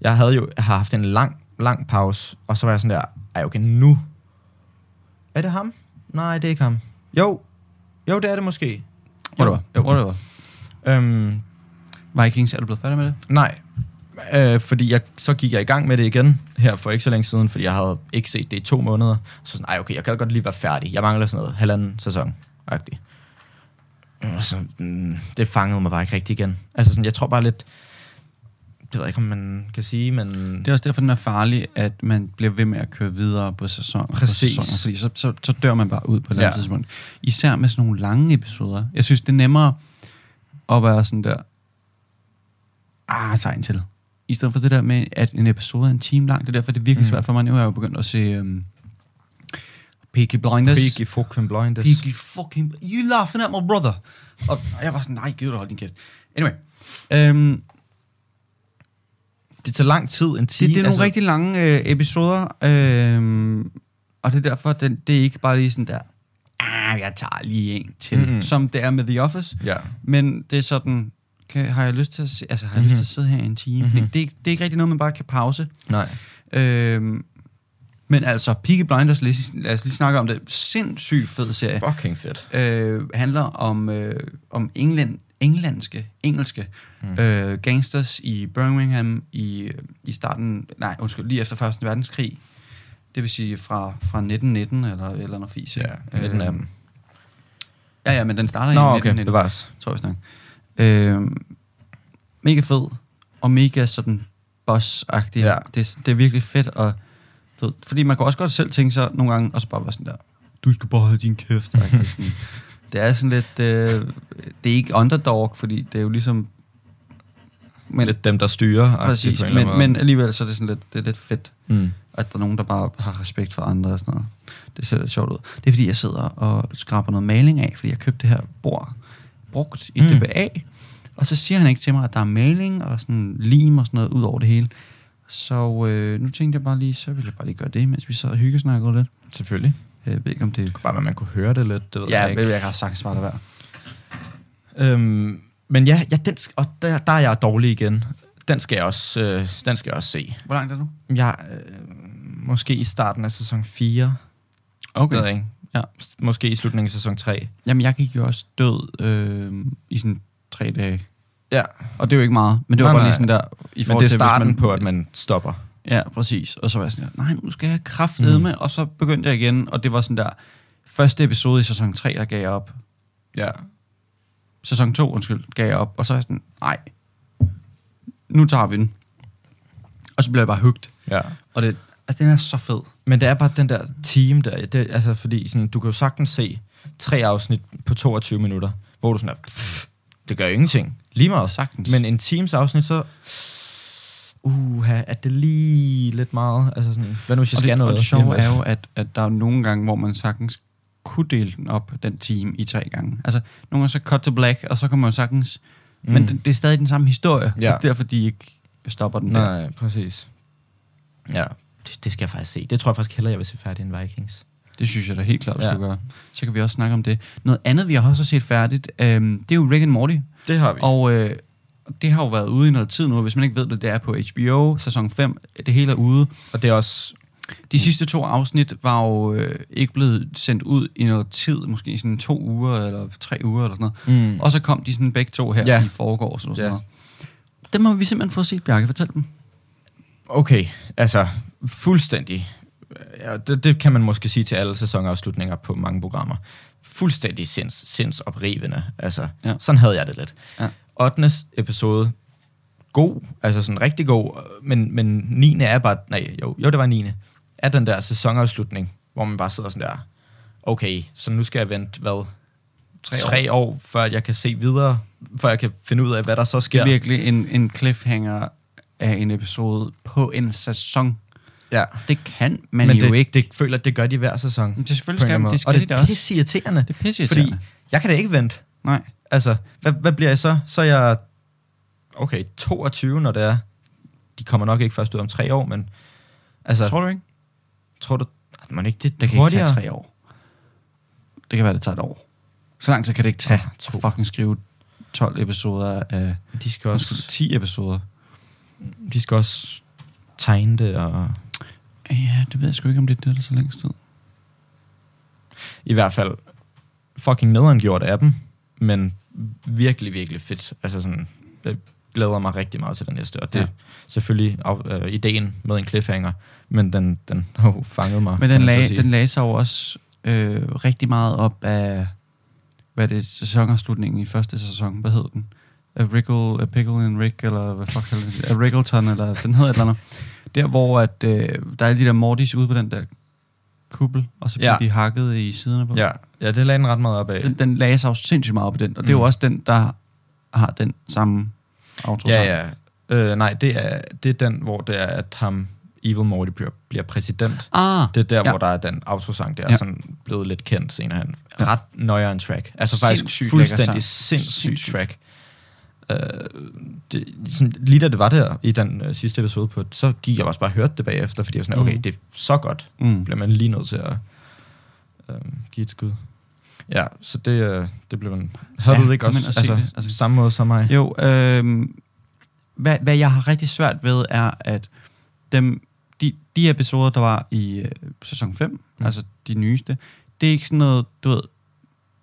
[SPEAKER 3] Jeg havde jo har haft en lang, lang pause, og så var jeg sådan der, ej okay, nu. Er det ham? Nej, det er ikke ham. Jo. Jo, det er det måske.
[SPEAKER 2] Whatever.
[SPEAKER 3] Jo.
[SPEAKER 2] Whatever.
[SPEAKER 3] Øhm,
[SPEAKER 2] Vikings, er du blevet færdig med det?
[SPEAKER 3] nej. Øh, fordi jeg, så gik jeg i gang med det igen her for ikke så længe siden, fordi jeg havde ikke set det i to måneder. Så sådan, ej okay, jeg kan godt lige være færdig. Jeg mangler sådan noget halvanden sæson. -agtig. Og så, mm, det fangede mig bare ikke rigtig igen. Altså sådan, jeg tror bare lidt, det ved jeg ikke, om man kan sige, men...
[SPEAKER 2] Det er også derfor, den er farlig, at man bliver ved med at køre videre på sæsoner.
[SPEAKER 3] Præcis.
[SPEAKER 2] På sæsoner fordi så, så, så dør man bare ud på et eller andet
[SPEAKER 3] Ja.
[SPEAKER 2] tidspunkt. Især med sådan nogle lange episoder. Jeg synes, det er nemmere at være sådan der... ah, sejn til. I stedet for det der med, at en episode er en time lang, det er derfor, det er virkelig
[SPEAKER 3] Mm.
[SPEAKER 2] svært for mig. Nu er jeg jo begyndt at se um, Peaky Blinders.
[SPEAKER 3] Peaky fucking blinders.
[SPEAKER 2] Peaky fucking... You laughing at my brother. Og og jeg var sådan, nej, gider du holde din kæft. Anyway. Øhm,
[SPEAKER 3] Det tager lang tid, en
[SPEAKER 2] det,
[SPEAKER 3] time.
[SPEAKER 2] det er nogle altså, rigtig lange øh, episoder, øh, og det er derfor, den, det er ikke bare lige sådan der, ah, jeg tager lige en til,
[SPEAKER 3] Mhm.
[SPEAKER 2] mm-hmm. som det er med The Office,
[SPEAKER 3] Ja.
[SPEAKER 2] men det er sådan, kan, har jeg lyst til at, se, altså, har jeg
[SPEAKER 3] Mhm.
[SPEAKER 2] lyst til at sidde her i en time? Mm-hmm. Fordi
[SPEAKER 3] Mhm.
[SPEAKER 2] det, er ikke- det er ikke rigtig noget, man bare kan pause.
[SPEAKER 3] Nej.
[SPEAKER 2] Øh, men altså, Peaky Blinders, lad os, lige- lad os lige snakke om det, sindssygt fed serie,
[SPEAKER 3] Fucking fedt.
[SPEAKER 2] øh, handler om, øh, om England, englandske, engelske mm. øh, gangsters i Birmingham i, i starten, nej undskyld, lige efter 1. verdenskrig. Det vil sige fra, fra 1919 eller et eller noget fis.
[SPEAKER 3] Ja, øh, midten af dem.
[SPEAKER 2] Ja, ja, men den starter
[SPEAKER 3] Nå,
[SPEAKER 2] i
[SPEAKER 3] okay,
[SPEAKER 2] 1919,
[SPEAKER 3] det var os.
[SPEAKER 2] tror jeg snakker. Øh, mega fed, og mega sådan boss
[SPEAKER 3] Ja.
[SPEAKER 2] ja. det, er- det er virkelig fedt, og du ved, fordi man kan også godt selv tænke sig nogle gange, og så bare være sådan der, du skal bare holde din kæft. agtigt, sådan. det er sådan lidt, øh, det er ikke underdog, fordi det er jo ligesom,
[SPEAKER 3] Men,
[SPEAKER 2] men,
[SPEAKER 3] Lidt dem, der styrer.
[SPEAKER 2] præcis, men, men alligevel så er det sådan lidt, det er lidt fedt,
[SPEAKER 3] Mm.
[SPEAKER 2] at der er nogen, der bare har respekt for andre og sådan noget. Det ser lidt sjovt ud. Det er fordi, jeg sidder og skraber noget maling af, fordi jeg købte det her bord brugt i
[SPEAKER 3] Mm.
[SPEAKER 2] mm. DBA, og så siger han ikke til mig, at der er maling og sådan lim og sådan noget ud over det hele. Så øh, nu tænkte jeg bare lige, så ville jeg bare lige gøre det, mens vi sad og hyggesnakkede lidt.
[SPEAKER 3] Selvfølgelig.
[SPEAKER 2] Jeg ved ikke, om det...
[SPEAKER 3] Bare, at man kunne høre det lidt. Det ved
[SPEAKER 2] Ja,
[SPEAKER 3] jeg
[SPEAKER 2] jeg,
[SPEAKER 3] ikke.
[SPEAKER 2] ved, jeg har sagtens var det værd.
[SPEAKER 3] Øhm, men ja, ja den, sk- og der, der er jeg dårlig igen. Den skal jeg også, øh, den skal jeg også se.
[SPEAKER 2] Hvor langt er du?
[SPEAKER 3] Jeg, øh, måske i starten af sæson 4. Okay. Ved jeg ikke.
[SPEAKER 2] Ja.
[SPEAKER 3] S- Måske i slutningen af sæson 3.
[SPEAKER 2] Jamen, jeg gik jo også død øh, i sådan tre dage.
[SPEAKER 3] Ja,
[SPEAKER 2] Og det er jo ikke meget, men det var
[SPEAKER 3] Nej,
[SPEAKER 2] bare
[SPEAKER 3] nej.
[SPEAKER 2] lige sådan der... I
[SPEAKER 3] men
[SPEAKER 2] forhold
[SPEAKER 3] det er
[SPEAKER 2] til, hvis
[SPEAKER 3] starten man, på, at man stopper.
[SPEAKER 2] Ja, præcis. Og så var jeg sådan der, nej, nu skal jeg kraftedme,
[SPEAKER 3] Mm.
[SPEAKER 2] med. og så begyndte jeg igen, og det var sådan der, første episode i sæson 3, der gav jeg op.
[SPEAKER 3] Ja.
[SPEAKER 2] Sæson 2, undskyld, gav jeg op, og så er jeg sådan, nej, nu tager vi den. Og så blev jeg bare hugt.
[SPEAKER 3] ja.
[SPEAKER 2] Og det, at den er så fed.
[SPEAKER 3] Men det er bare den der team der, det, altså fordi sådan, du kan jo sagtens se tre afsnit på 22 minutter, hvor du sådan er, pff, det gør ingenting. Lige meget.
[SPEAKER 2] Sagtens.
[SPEAKER 3] Men en times afsnit, så... Uha, er det lige lidt meget? Altså sådan, hvad nu hvis jeg
[SPEAKER 2] og
[SPEAKER 3] skal
[SPEAKER 2] det,
[SPEAKER 3] noget? altså.
[SPEAKER 2] og det sjove
[SPEAKER 3] Jamen,
[SPEAKER 2] er jo, at, at der er nogle gange, hvor man sagtens kunne dele den op, den time, i tre gange. Altså, nogle gange så cut to black, og så kan man jo sagtens... Mm.
[SPEAKER 3] Mm.
[SPEAKER 2] Men det, det er stadig den samme historie.
[SPEAKER 3] Ja.
[SPEAKER 2] Det er derfor, de ikke stopper den der.
[SPEAKER 3] Nej, præcis. Ja, det, det skal jeg faktisk se. Det tror jeg faktisk hellere, jeg vil se færdig end Vikings.
[SPEAKER 2] Det synes jeg da helt klart, vi
[SPEAKER 3] Ja.
[SPEAKER 2] skulle gøre. Så kan vi også snakke om det. Noget andet, vi har også set færdigt, øhm, det er jo Rick and Morty.
[SPEAKER 3] Det har vi. Og
[SPEAKER 2] Og øh, det har jo været ude i noget tid nu, og hvis man ikke ved det, det er på HBO, sæson 5, det hele er ude.
[SPEAKER 3] og det er også... Mm.
[SPEAKER 2] De sidste to afsnit var jo øh, ikke blevet sendt ud i noget tid, måske i sådan to uger eller tre uger eller sådan noget.
[SPEAKER 3] Mm,
[SPEAKER 2] Og så kom de sådan begge to her
[SPEAKER 3] Ja.
[SPEAKER 2] i forgårs og sådan
[SPEAKER 3] Ja.
[SPEAKER 2] noget. Dem har vi simpelthen fået set, Bjarke. Fortæl dem.
[SPEAKER 3] okay, altså fuldstændig. Ja, det, det kan man måske sige til alle sæsonafslutninger på mange programmer. Fuldstændig sinds, sindsoprivende. Altså, ja.
[SPEAKER 2] Ja.
[SPEAKER 3] sådan havde jeg det lidt.
[SPEAKER 2] Ja.
[SPEAKER 3] 8. episode, god, altså sådan rigtig god, men, men 9. er bare, nej, jo, jo, det var 9. Er den der sæsonafslutning, hvor man bare sidder sådan der, okay, så nu skal jeg vente, hvad, tre, tre år. år, før jeg kan se videre, før jeg kan finde ud af, hvad der så
[SPEAKER 2] Det er
[SPEAKER 3] sker.
[SPEAKER 2] virkelig en, en cliffhanger af en episode på en sæson.
[SPEAKER 3] Ja.
[SPEAKER 2] Det kan man
[SPEAKER 3] Men
[SPEAKER 2] jo ikke.
[SPEAKER 3] det, ikke. det føler, at det gør de hver sæson.
[SPEAKER 2] Men det selvfølgelig
[SPEAKER 3] på
[SPEAKER 2] skal-
[SPEAKER 3] en eller anden måde.
[SPEAKER 2] det skal
[SPEAKER 3] og
[SPEAKER 2] de
[SPEAKER 3] det
[SPEAKER 2] da
[SPEAKER 3] er
[SPEAKER 2] også.
[SPEAKER 3] pisse irriterende.
[SPEAKER 2] Det er pisseirriterende.
[SPEAKER 3] Fordi jeg kan da ikke vente.
[SPEAKER 2] Nej.
[SPEAKER 3] Altså, hvad, hvad bliver jeg så? Så er jeg, okay, 22, når det er. De kommer nok ikke først ud om tre år, men altså, tror,
[SPEAKER 2] Tror du ikke?
[SPEAKER 3] tror du, at man ikke det,
[SPEAKER 2] Det kan
[SPEAKER 3] hurtigere?
[SPEAKER 2] ikke tage tre år. Det kan være, det tager et år. Så lang tid kan det ikke tage
[SPEAKER 3] Ah, to.
[SPEAKER 2] at fucking skrive 12 episoder af...
[SPEAKER 3] De skal
[SPEAKER 2] Undskyld,
[SPEAKER 3] også,
[SPEAKER 2] 10 episoder.
[SPEAKER 3] de skal også tegne det, og
[SPEAKER 2] Ja, det ved jeg sgu ikke, om det er det, der så længst tid.
[SPEAKER 3] i hvert fald fucking nederen gjort af dem, men virkelig, virkelig fedt. Altså sådan, jeg glæder mig rigtig meget til den næste, og det er
[SPEAKER 2] Ja.
[SPEAKER 3] selvfølgelig af, øh, ideen med en cliffhanger, men den, den har jo fanget mig.
[SPEAKER 2] Men
[SPEAKER 3] kan
[SPEAKER 2] den
[SPEAKER 3] man så
[SPEAKER 2] lagde,
[SPEAKER 3] sige.
[SPEAKER 2] den lagde sig jo også øh, rigtig meget op af, hvad det er, sæsonafslutningen i første sæson, hvad hed den? A Wriggle, A Pickle and Rick, eller hvad fuck hedder den? A Wriggleton, eller den hedder et eller andet. Der, hvor at, øh, der er de der Mortys ude på den der kuppel, og så bliver
[SPEAKER 3] Ja.
[SPEAKER 2] ja. de hakket i siderne på.
[SPEAKER 3] Ja, ja, det lagde den ret meget op af.
[SPEAKER 2] Den, den lagde sig jo sindssygt meget op på den, og det er
[SPEAKER 3] Mm.
[SPEAKER 2] jo også den, der har den samme outro
[SPEAKER 3] ja, ja. Øh, nej, det er, det er den, hvor det er, at ham, Evil Morty, bliver, bliver præsident.
[SPEAKER 2] Ah,
[SPEAKER 3] Det er der,
[SPEAKER 2] Ja.
[SPEAKER 3] ja. hvor der er den autosang der,
[SPEAKER 2] Ja.
[SPEAKER 3] ja. sådan blevet lidt kendt senere hen. Ret nøjeren track. Altså
[SPEAKER 2] Sindssygt
[SPEAKER 3] faktisk
[SPEAKER 2] lækker sang.
[SPEAKER 3] fuldstændig sindssyg
[SPEAKER 2] Sindssygt.
[SPEAKER 3] track. Øh, det, sådan, lige da det var der i den øh, sidste episode på, så gik jeg også bare og hørte det bagefter, fordi jeg var sådan, okay,
[SPEAKER 2] Mhm.
[SPEAKER 3] det er så godt,
[SPEAKER 2] mm.
[SPEAKER 3] bliver man lige nødt til at øh, give et skud. Ja, så det, øh, det blev man... Havde
[SPEAKER 2] Ja,
[SPEAKER 3] ja, du det ikke
[SPEAKER 2] kom ind
[SPEAKER 3] også?
[SPEAKER 2] og se det. Altså-
[SPEAKER 3] altså, samme måde som mig?
[SPEAKER 2] Jo, øh, hvad, hvad jeg har rigtig svært ved, er, at dem, de, de episoder, der var i øh, sæson 5, mm.
[SPEAKER 3] Mm.
[SPEAKER 2] altså de nyeste, det er ikke sådan noget, du ved,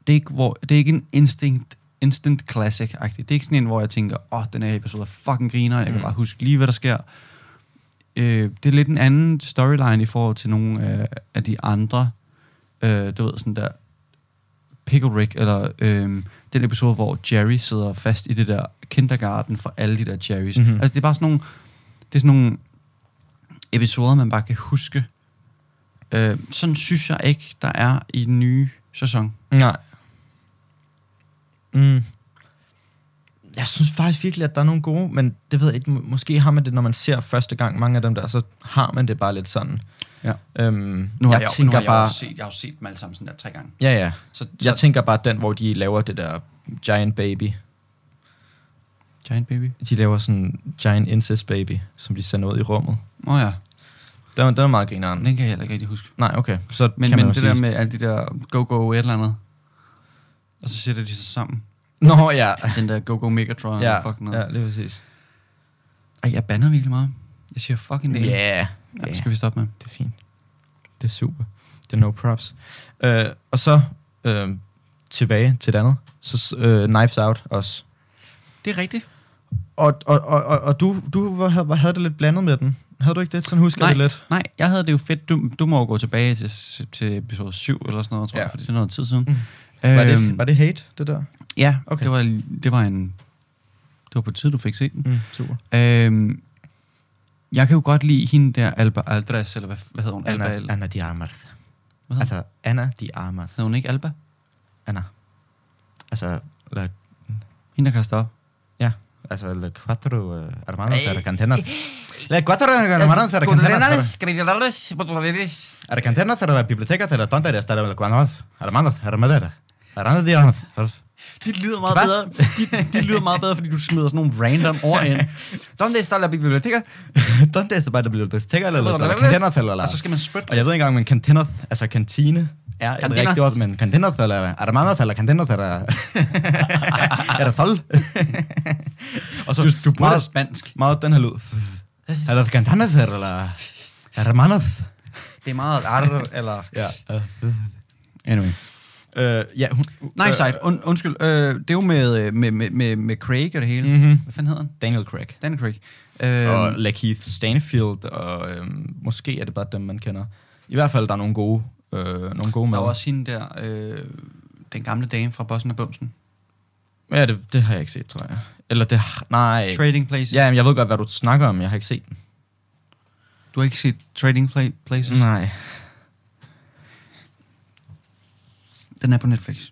[SPEAKER 2] det er ikke, hvor, det er ikke en instinct, instant classic-agtig. Det er ikke sådan en, hvor jeg tænker, åh, oh, den her episode er fucking griner, jeg kan
[SPEAKER 3] Mm.
[SPEAKER 2] bare huske lige, hvad der sker. Øh, det er lidt en anden storyline i forhold til nogle øh, af de andre, øh, du ved, sådan der, Pickle Rick, eller øh, den episode, hvor Jerry sidder fast i det der kindergarten for alle de der Jerrys. Mm-hmm.
[SPEAKER 3] Mhm.
[SPEAKER 2] Altså, det er bare sådan nogle, det er sådan nogle episoder, man bare kan huske. Øh, sådan synes jeg ikke, der er i den nye sæson.
[SPEAKER 3] Nej. Mm. Jeg synes faktisk virkelig, at der er nogle gode, men det ved jeg ikke, må- måske har man det, når man ser første gang mange af dem der, så har man det bare lidt sådan.
[SPEAKER 2] Ja.
[SPEAKER 3] Øhm,
[SPEAKER 2] Nu har
[SPEAKER 3] jeg,
[SPEAKER 2] jeg, nu
[SPEAKER 3] tænker
[SPEAKER 2] har jeg,
[SPEAKER 3] bare...
[SPEAKER 2] også set, jeg har jo set dem alle sammen sådan der tre gange.
[SPEAKER 3] Ja, ja.
[SPEAKER 2] Så, så
[SPEAKER 3] Jeg tænker bare den, hvor de laver det der giant baby.
[SPEAKER 2] Giant Baby.
[SPEAKER 3] De laver sådan giant incest baby, som de sender ud i rummet.
[SPEAKER 2] Åh oh, ja,
[SPEAKER 3] Den er, den er meget grineren.
[SPEAKER 2] den kan jeg heller ikke rigtig huske.
[SPEAKER 3] Nej, okay. Så
[SPEAKER 2] Men,
[SPEAKER 3] kan
[SPEAKER 2] men
[SPEAKER 3] man jo
[SPEAKER 2] det
[SPEAKER 3] sige-
[SPEAKER 2] der med alle de der go-go et eller andet. Og så sætter de sig sammen.
[SPEAKER 3] Nå, ja.
[SPEAKER 2] Den der go-go Megatron.
[SPEAKER 3] Ah. Ja,
[SPEAKER 2] og fuck noget.
[SPEAKER 3] ja, det er præcis.
[SPEAKER 2] Ej, jeg bander virkelig meget. Jeg siger fucking
[SPEAKER 3] Ja,
[SPEAKER 2] virkelig.
[SPEAKER 3] yeah.
[SPEAKER 2] Ja, det skal vi stoppe med.
[SPEAKER 3] Det er fint. Det er super. Det er no props. Øh, og så øh, tilbage til det andet. Så øh, Knives Out også.
[SPEAKER 2] Det er rigtigt.
[SPEAKER 3] Og, og, og, og, og du, du var- havde, havde det lidt blandet med den. Havde du ikke det? Sådan husker jeg det lidt.
[SPEAKER 2] Nej, jeg havde det jo fedt. Du, du må jo gå tilbage til, til episode 7 eller sådan noget, tror ja.
[SPEAKER 3] Ja.
[SPEAKER 2] jeg, fordi det er noget tid siden.
[SPEAKER 3] Mm.
[SPEAKER 2] Øhm,
[SPEAKER 3] Var, det, var det hate, det der?
[SPEAKER 2] Ja, okay.
[SPEAKER 3] Okay.
[SPEAKER 2] det, var, det var en... Det var på tid, du fik set den.
[SPEAKER 3] Mm, super.
[SPEAKER 2] Øhm, jeg kan jo godt lide hende der, Alba Aldres, eller hvad, hvad hedder hun? Alba,
[SPEAKER 3] Anna,
[SPEAKER 2] eller,
[SPEAKER 3] Anna de Armas.
[SPEAKER 2] hvad hedder,
[SPEAKER 3] Altså, Anna de Armas.
[SPEAKER 2] hedder hun ikke Alba?
[SPEAKER 3] Anna. Altså, la,
[SPEAKER 2] Hende, der kaster op.
[SPEAKER 3] altså, la cuatro uh, hermanos argentinos. La cuatro hermanos argentinos. Argentinos de la biblioteca de la tontería de la cuanos. Hermanos, hermanos. Hermanos de Armas.
[SPEAKER 2] Det lyder meget
[SPEAKER 3] Hvad?
[SPEAKER 2] bedre. Det, det lyder meget bedre, fordi du smider sådan nogle random ord ind.
[SPEAKER 3] ¿Dónde está la biblioteca? ¿Dónde está la biblioteca? La, la, la, eller
[SPEAKER 2] Og så Altså, skal man spytte.
[SPEAKER 3] Og jeg ved ikke engang, men kantinas, altså kantine, er et
[SPEAKER 2] Cantinas.
[SPEAKER 3] rigtigt ord, men kantinas, eller armanos, eller kantinas, eller... er der sol? og så, du, du
[SPEAKER 2] Meget
[SPEAKER 3] meget,
[SPEAKER 2] spansk.
[SPEAKER 3] meget den her lyd. Er der kantinas, eller... Hermanos.
[SPEAKER 2] Det er meget art, eller...
[SPEAKER 3] Ja.
[SPEAKER 2] Anyway.
[SPEAKER 3] Øh, ja, hun,
[SPEAKER 2] Nej, sejt. Und, undskyld. Øh, det er jo med, øh, med, med, med, med Craig og det hele. Mm.
[SPEAKER 3] Mhm.
[SPEAKER 2] Hvad fanden hedder han?
[SPEAKER 3] Daniel Craig. Øhm.
[SPEAKER 2] Dan Craig. Øh,
[SPEAKER 3] og Lakeith Stanfield, og øhm, måske er det bare dem, man kender. I hvert fald, der er nogle gode, øh, nogle gode
[SPEAKER 2] der
[SPEAKER 3] med.
[SPEAKER 2] var også hende der, øh, den gamle dame fra Bossen og Bumsen.
[SPEAKER 3] Ja, det, det har jeg ikke set, tror jeg. Eller det... Nej.
[SPEAKER 2] Trading Places.
[SPEAKER 3] Ja, men jeg ved godt, hvad du snakker om. Jeg har ikke set den.
[SPEAKER 2] Du har ikke set Trading Pla- Places?
[SPEAKER 3] Nej.
[SPEAKER 2] Den er på Netflix.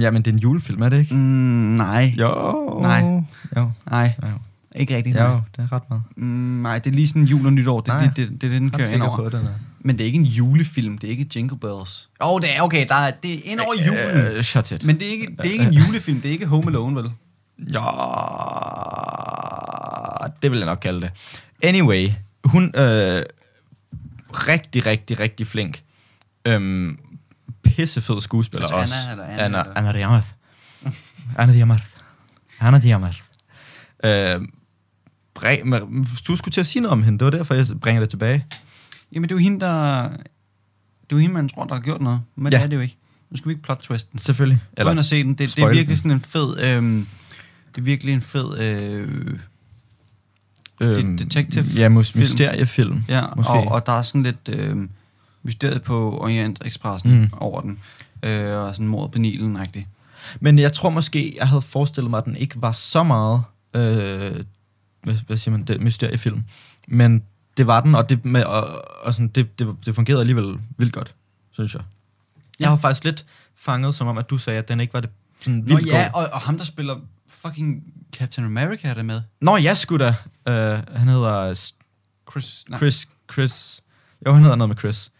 [SPEAKER 3] Ja, men det er en julefilm, er det ikke?
[SPEAKER 2] Mm, nej.
[SPEAKER 3] Jo.
[SPEAKER 2] Nej.
[SPEAKER 3] Jo.
[SPEAKER 2] Nej,
[SPEAKER 3] Jo,
[SPEAKER 2] ikke rigtigt.
[SPEAKER 3] jo det er ret meget.
[SPEAKER 2] Mm, nej, det er lige sådan jul og nytår. Det,
[SPEAKER 3] Nej.
[SPEAKER 2] det, det, det, er det, den
[SPEAKER 3] Jeg er
[SPEAKER 2] kører ind
[SPEAKER 3] sikker
[SPEAKER 2] over.
[SPEAKER 3] på, at den er.
[SPEAKER 2] Men det er ikke en julefilm. Det er ikke Jingle Bells. Åh, oh, det er okay. Der er, det er ind over julen.
[SPEAKER 3] Øh, shut it.
[SPEAKER 2] Men det er, ikke, det er ikke en julefilm. Det er ikke Home Alone, vel?
[SPEAKER 3] Ja, det vil jeg nok kalde det. Anyway, hun øh, rigtig, rigtig, rigtig flink. Øhm, pissefed skuespiller
[SPEAKER 2] Altså
[SPEAKER 3] også.
[SPEAKER 2] Anna, eller Anna,
[SPEAKER 3] Anna,
[SPEAKER 2] eller-
[SPEAKER 3] Anna Diamant. Anna Diamant. Anna Diamant. Øh, bring- men du skulle til at sige noget om hende, det var derfor, jeg bringer det tilbage.
[SPEAKER 2] Jamen, det er jo hende, der... Det er jo hende, man tror, der har gjort noget. Men ja. det
[SPEAKER 3] Ja.
[SPEAKER 2] er det jo ikke. Nu skal vi ikke plot twisten.
[SPEAKER 3] Selvfølgelig.
[SPEAKER 2] Gå ind og se den. Det, det er
[SPEAKER 3] spoil
[SPEAKER 2] virkelig
[SPEAKER 3] den.
[SPEAKER 2] sådan en fed... Øhm, det er virkelig en fed... Øh, det- detective
[SPEAKER 3] øhm, Ja, mus-
[SPEAKER 2] film.
[SPEAKER 3] mysteriefilm.
[SPEAKER 2] ja,
[SPEAKER 3] Måske.
[SPEAKER 2] og, og der er sådan lidt øh, mysteriet på Orient Expressen mm.
[SPEAKER 3] Mm.
[SPEAKER 2] over den. Øh, og sådan mordet på Nilen, rigtig.
[SPEAKER 3] Men jeg tror måske, jeg havde forestillet mig, at den ikke var så meget, øh, hvad, hvad siger man, det, mysteriefilm. Men det var den, og det, med, og, og sådan, det, det, det fungerede alligevel vildt godt, synes jeg. Jeg har faktisk lidt fanget, som om, at du sagde, at den ikke var det sådan
[SPEAKER 2] Nå
[SPEAKER 3] vildt
[SPEAKER 2] ja,
[SPEAKER 3] god.
[SPEAKER 2] og, og ham, der spiller fucking Captain America er der med.
[SPEAKER 3] Nå, jeg skulle da. Uh, han hedder S-
[SPEAKER 2] Chris, nej, Chris.
[SPEAKER 3] Chris... Chris... Jo, han hedder noget med Chris.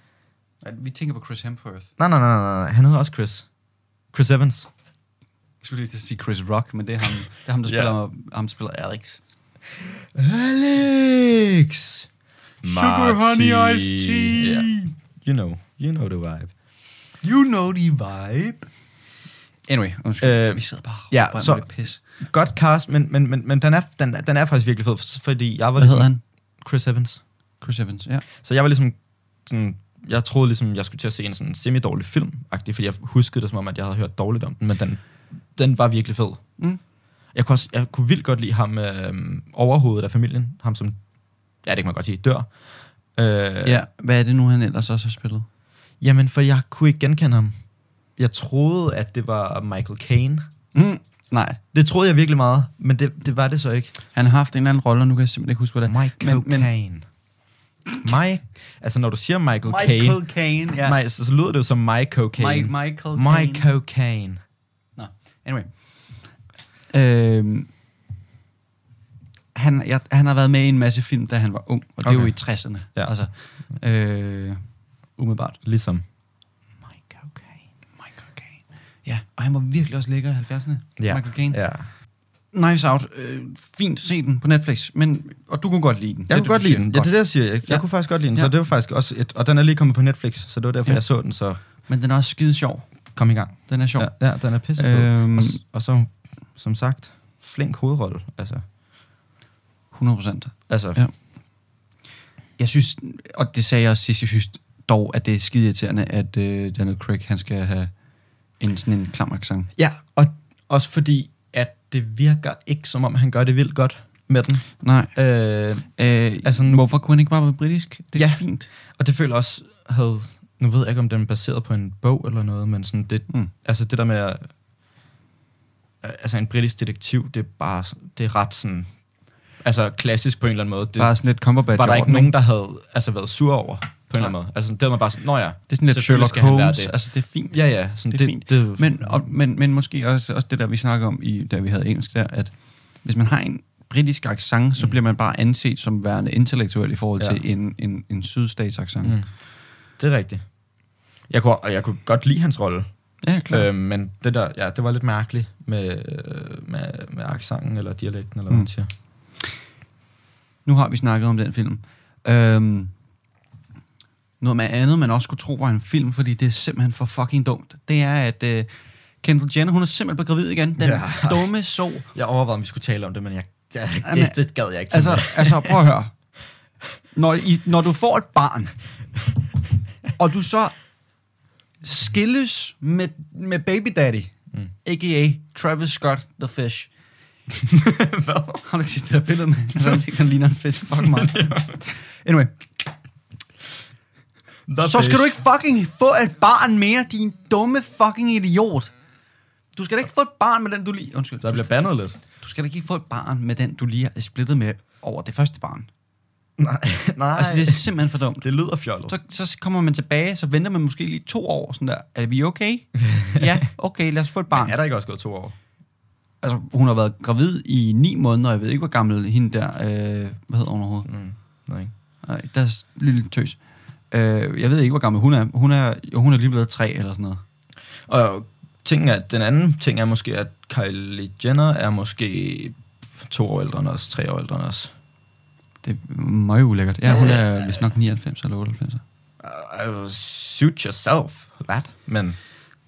[SPEAKER 2] vi tænker på Chris Hemsworth.
[SPEAKER 3] Nej, nej, nej, nej, nej. Han hedder også Chris. Chris Evans.
[SPEAKER 2] Jeg skulle lige til at sige Chris Rock, men det er ham, det er ham der
[SPEAKER 3] Ja.
[SPEAKER 2] spiller, ham, der spiller Alex.
[SPEAKER 3] Alex!
[SPEAKER 2] Sugar honey iced tea.
[SPEAKER 3] Yeah. You know. You know the vibe.
[SPEAKER 2] You know the vibe. Anyway, undskyld,
[SPEAKER 3] Øh,
[SPEAKER 2] vi sidder bare og
[SPEAKER 3] ja,
[SPEAKER 2] råber
[SPEAKER 3] så-
[SPEAKER 2] med det pis.
[SPEAKER 3] Godt cast, men, men, men, men den, er, den, er- den er faktisk virkelig fed, fordi jeg var
[SPEAKER 2] Hvad
[SPEAKER 3] ligesom
[SPEAKER 2] hedder han?
[SPEAKER 3] Chris Evans.
[SPEAKER 2] Chris Evans, ja.
[SPEAKER 3] Så jeg var ligesom sådan, jeg troede ligesom, jeg skulle til at se en sådan semi-dårlig film fordi jeg huskede det som om, at jeg havde hørt dårligt om den, men den, den var virkelig fed.
[SPEAKER 2] Mm.
[SPEAKER 3] Jeg kunne, også, jeg kunne vildt godt lide ham øh, overhovedet af familien, ham som, ja det kan man godt sige, dør. Øh,
[SPEAKER 2] ja. Hvad er det nu, han ellers også har spillet?
[SPEAKER 3] Jamen, for jeg kunne ikke genkende ham. Jeg troede, at det var Michael Caine.
[SPEAKER 2] Mm, nej,
[SPEAKER 3] Det troede jeg virkelig meget, men det, det var det så ikke.
[SPEAKER 2] han har haft en eller anden rolle, og nu kan jeg simpelthen ikke huske, hvad det er.
[SPEAKER 3] Michael
[SPEAKER 2] men-
[SPEAKER 3] Caine. Mike, altså når du siger Michael, Caine,
[SPEAKER 2] Caine, ja.
[SPEAKER 3] nej, så, så lyder det jo som Mike Cocaine.
[SPEAKER 2] Mi- Michael Caine.
[SPEAKER 3] My cocaine.
[SPEAKER 2] Nå, anyway. Øhm, han, jeg, han har været med i en masse film, da han var ung, og det okay. er jo i
[SPEAKER 3] Okay.
[SPEAKER 2] 60'erne.
[SPEAKER 3] Ja.
[SPEAKER 2] Altså, øh, umiddelbart.
[SPEAKER 3] Ligesom.
[SPEAKER 2] Michael Caine. Michael Caine. Ja, og han var virkelig også lækker i 70'erne.
[SPEAKER 3] Ja.
[SPEAKER 2] Michael Caine.
[SPEAKER 3] Ja.
[SPEAKER 2] Nice Out. Øh, fint, se den på Netflix. Men, og du kunne godt lide den.
[SPEAKER 3] Jeg
[SPEAKER 2] Det er
[SPEAKER 3] kunne
[SPEAKER 2] det,
[SPEAKER 3] godt
[SPEAKER 2] du
[SPEAKER 3] lide
[SPEAKER 2] siger.
[SPEAKER 3] den. Ja, det er det, jeg siger. Jeg, jeg
[SPEAKER 2] Ja.
[SPEAKER 3] kunne faktisk godt lide den,
[SPEAKER 2] Ja.
[SPEAKER 3] så det var faktisk også et... Og den er lige kommet på Netflix, så det var derfor,
[SPEAKER 2] Ja.
[SPEAKER 3] jeg så den, så
[SPEAKER 2] Men den er også skide sjov.
[SPEAKER 3] kom i gang.
[SPEAKER 2] Den er sjov.
[SPEAKER 3] Ja, ja den er pisse
[SPEAKER 2] Øhm.
[SPEAKER 3] øhm. og, s- og så, som sagt, flink hovedrolle. Altså,
[SPEAKER 2] 100 procent.
[SPEAKER 3] altså
[SPEAKER 2] Ja. Jeg synes, og det sagde jeg også sidst, jeg synes dog, at det er skide irriterende, at øh, Daniel Craig, han skal have en sådan en klam accent.
[SPEAKER 3] ja, og også fordi, at det virker ikke, som om han gør det vildt godt med den.
[SPEAKER 2] Nej.
[SPEAKER 3] Øh,
[SPEAKER 2] Øh, altså,
[SPEAKER 3] Altså,
[SPEAKER 2] nu,
[SPEAKER 3] nu-
[SPEAKER 2] hvorfor kunne han ikke bare være britisk? Det er
[SPEAKER 3] Ja.
[SPEAKER 2] fint.
[SPEAKER 3] og det føler jeg også havde... Nu ved jeg ikke, om den er baseret på en bog eller noget, men sådan det,
[SPEAKER 2] Mm.
[SPEAKER 3] altså det der med, at- altså en britisk detektiv, det er bare, det er ret sådan, altså klassisk på en eller anden måde. Det,
[SPEAKER 2] Bare sådan lidt Cumberbatch
[SPEAKER 3] var der
[SPEAKER 2] over
[SPEAKER 3] ikke
[SPEAKER 2] den,
[SPEAKER 3] nogen, der havde altså været sur over, på en eller
[SPEAKER 2] Nej.
[SPEAKER 3] anden måde. Altså det var man bare sådan, nå ja,
[SPEAKER 2] Det er sådan lidt
[SPEAKER 3] Selvfølgelig
[SPEAKER 2] Sherlock
[SPEAKER 3] skal han være
[SPEAKER 2] Holmes.
[SPEAKER 3] det.
[SPEAKER 2] Altså, det er fint.
[SPEAKER 3] ja ja, sådan,
[SPEAKER 2] Det er fint.
[SPEAKER 3] Det,
[SPEAKER 2] Men, og, men, men måske også, også det der, vi snakker om, i, da vi havde engelsk der, at hvis man har en britisk accent, så
[SPEAKER 3] Mm.
[SPEAKER 2] bliver man bare anset som værende intellektuel i forhold ja.
[SPEAKER 3] Ja.
[SPEAKER 2] til en, en, en sydstatsaccent. Mm.
[SPEAKER 3] mm, det er rigtigt. Jeg kunne, og jeg kunne godt lide hans rolle,
[SPEAKER 2] Ja, klart.
[SPEAKER 3] øh, men det der, ja, det var lidt mærkeligt med, øh, med, med accenten eller dialekten, eller hvad
[SPEAKER 2] Mm.
[SPEAKER 3] man siger.
[SPEAKER 2] Nu har vi snakket om den film. Øhm, noget med andet, man også skulle tro var en film, fordi det er simpelthen for fucking dumt, det er, at øh, Kendall Jenner, hun er simpelthen blevet gravid igen. Den ja.
[SPEAKER 3] Ja.
[SPEAKER 2] dumme så.
[SPEAKER 3] Jeg overvejede, om vi skulle tale om det, men jeg, jeg,
[SPEAKER 2] Jamen,
[SPEAKER 3] det, det gad jeg ikke.
[SPEAKER 2] Altså, altså prøv at høre. Når, I, når du får et barn, og du så skilles med, med baby daddy, mm. a.k.a. Travis Scott the Fish. Hvad? Har du ikke set det her billede med? Altså, jeg tænker, han ligner en fisk. Fuck mig. Anyway.
[SPEAKER 3] The
[SPEAKER 2] så skal
[SPEAKER 3] fish.
[SPEAKER 2] du ikke fucking få et barn mere, din dumme fucking idiot. Du skal da ikke få et barn med den, du lige... Undskyld.
[SPEAKER 3] der
[SPEAKER 2] Du
[SPEAKER 3] bliver
[SPEAKER 2] skal,
[SPEAKER 3] bandet lidt.
[SPEAKER 2] du skal da ikke få et barn med den, du lige er splittet med over det første barn.
[SPEAKER 3] Nej, nej.
[SPEAKER 2] Altså, det er simpelthen for dumt.
[SPEAKER 3] det lyder fjollet.
[SPEAKER 2] Så, så kommer man tilbage, så venter man måske lige to år, sådan der, er vi okay? ja, okay, lad os få et barn.
[SPEAKER 3] er der ikke også gået to år?
[SPEAKER 2] Altså, hun har været gravid i ni måneder, og jeg ved ikke, hvor gammel hende der, øh, hvad hedder hun overhovedet?
[SPEAKER 3] Mm, nej.
[SPEAKER 2] Nej, der er lille tøs. Øh, jeg ved ikke, hvor gammel hun er. Hun er, jo, hun er lige blevet tre eller sådan noget.
[SPEAKER 3] Og tingen er, den anden ting er måske, at Kylie Jenner er måske to år ældre end os, tre år ældre end os.
[SPEAKER 2] Det er meget ulækkert. Ja, hun er vist nok 99 eller 98.
[SPEAKER 3] Uh, suit yourself, lad. Men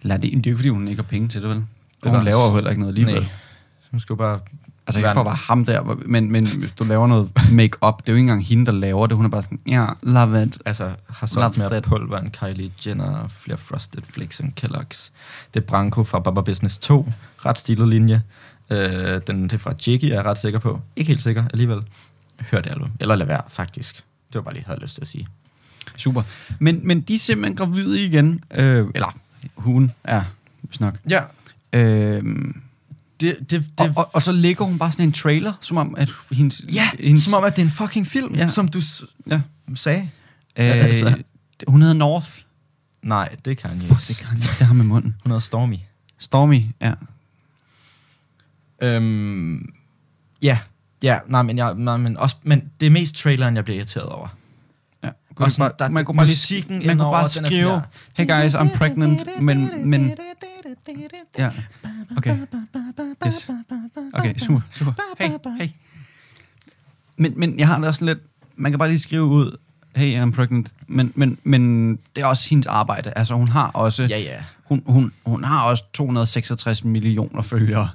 [SPEAKER 2] Lad det, det er jo ikke, fordi hun ikke har penge til det, vel? Og hun
[SPEAKER 3] nok-
[SPEAKER 2] laver jo heller ikke noget alligevel.
[SPEAKER 3] nej, hun skal jo bare...
[SPEAKER 2] Altså ikke for at være ham der, men, men hvis du laver noget make-up, det er jo ikke engang hende, der laver det. Hun er bare sådan, ja, love it.
[SPEAKER 3] Altså, har
[SPEAKER 2] Love
[SPEAKER 3] solgt mere
[SPEAKER 2] that.
[SPEAKER 3] pulver end Kylie Jenner, og flere Frosted Flakes end Kellogg's. Det er Branko fra Baba Business 2, ret stilet linje. Øh, den det er fra Jiggy, er jeg ret sikker på. Ikke helt sikker alligevel. Hør det album. Eller lad være, faktisk. Det var bare lige, jeg havde lyst til at sige.
[SPEAKER 2] Super. Men, men de er simpelthen gravide igen. Øh, eller hun er, hvis nok.
[SPEAKER 3] Ja,
[SPEAKER 2] Øh,
[SPEAKER 3] det, det, det,
[SPEAKER 2] og, og, og, så lægger hun bare sådan en trailer, som om, at hendes...
[SPEAKER 3] Ja,
[SPEAKER 2] hendes
[SPEAKER 3] som om, at det er en fucking film,
[SPEAKER 2] Ja.
[SPEAKER 3] ja. som du s-
[SPEAKER 2] Ja.
[SPEAKER 3] sagde.
[SPEAKER 2] øh,
[SPEAKER 3] altså.
[SPEAKER 2] Hun hedder North.
[SPEAKER 3] Nej, det kan jeg
[SPEAKER 2] Fuck, det kan jeg ikke. Det har med munden.
[SPEAKER 3] Hun hedder Stormy.
[SPEAKER 2] Stormy, ja.
[SPEAKER 3] Øhm, ja, ja, nej, men, jeg, nej, men, også, men det er mest traileren, jeg bliver irriteret over.
[SPEAKER 2] Ja.
[SPEAKER 3] Kunne
[SPEAKER 2] Og sådan, der, man kunne bare lige sige,
[SPEAKER 3] musikken
[SPEAKER 2] man kunne
[SPEAKER 3] indover,
[SPEAKER 2] bare
[SPEAKER 3] den er sådan
[SPEAKER 2] skrive,
[SPEAKER 3] der.
[SPEAKER 2] hey guys, I'm pregnant, men, men, ja, okay, yes, okay, super, super, hey, hey. Men, men jeg har det også sådan lidt, man kan bare lige skrive ud, hey, I'm pregnant, men, men, men det er også hendes arbejde, altså hun har også,
[SPEAKER 3] Ja, ja.
[SPEAKER 2] hun, hun, hun har også 266 millioner følgere,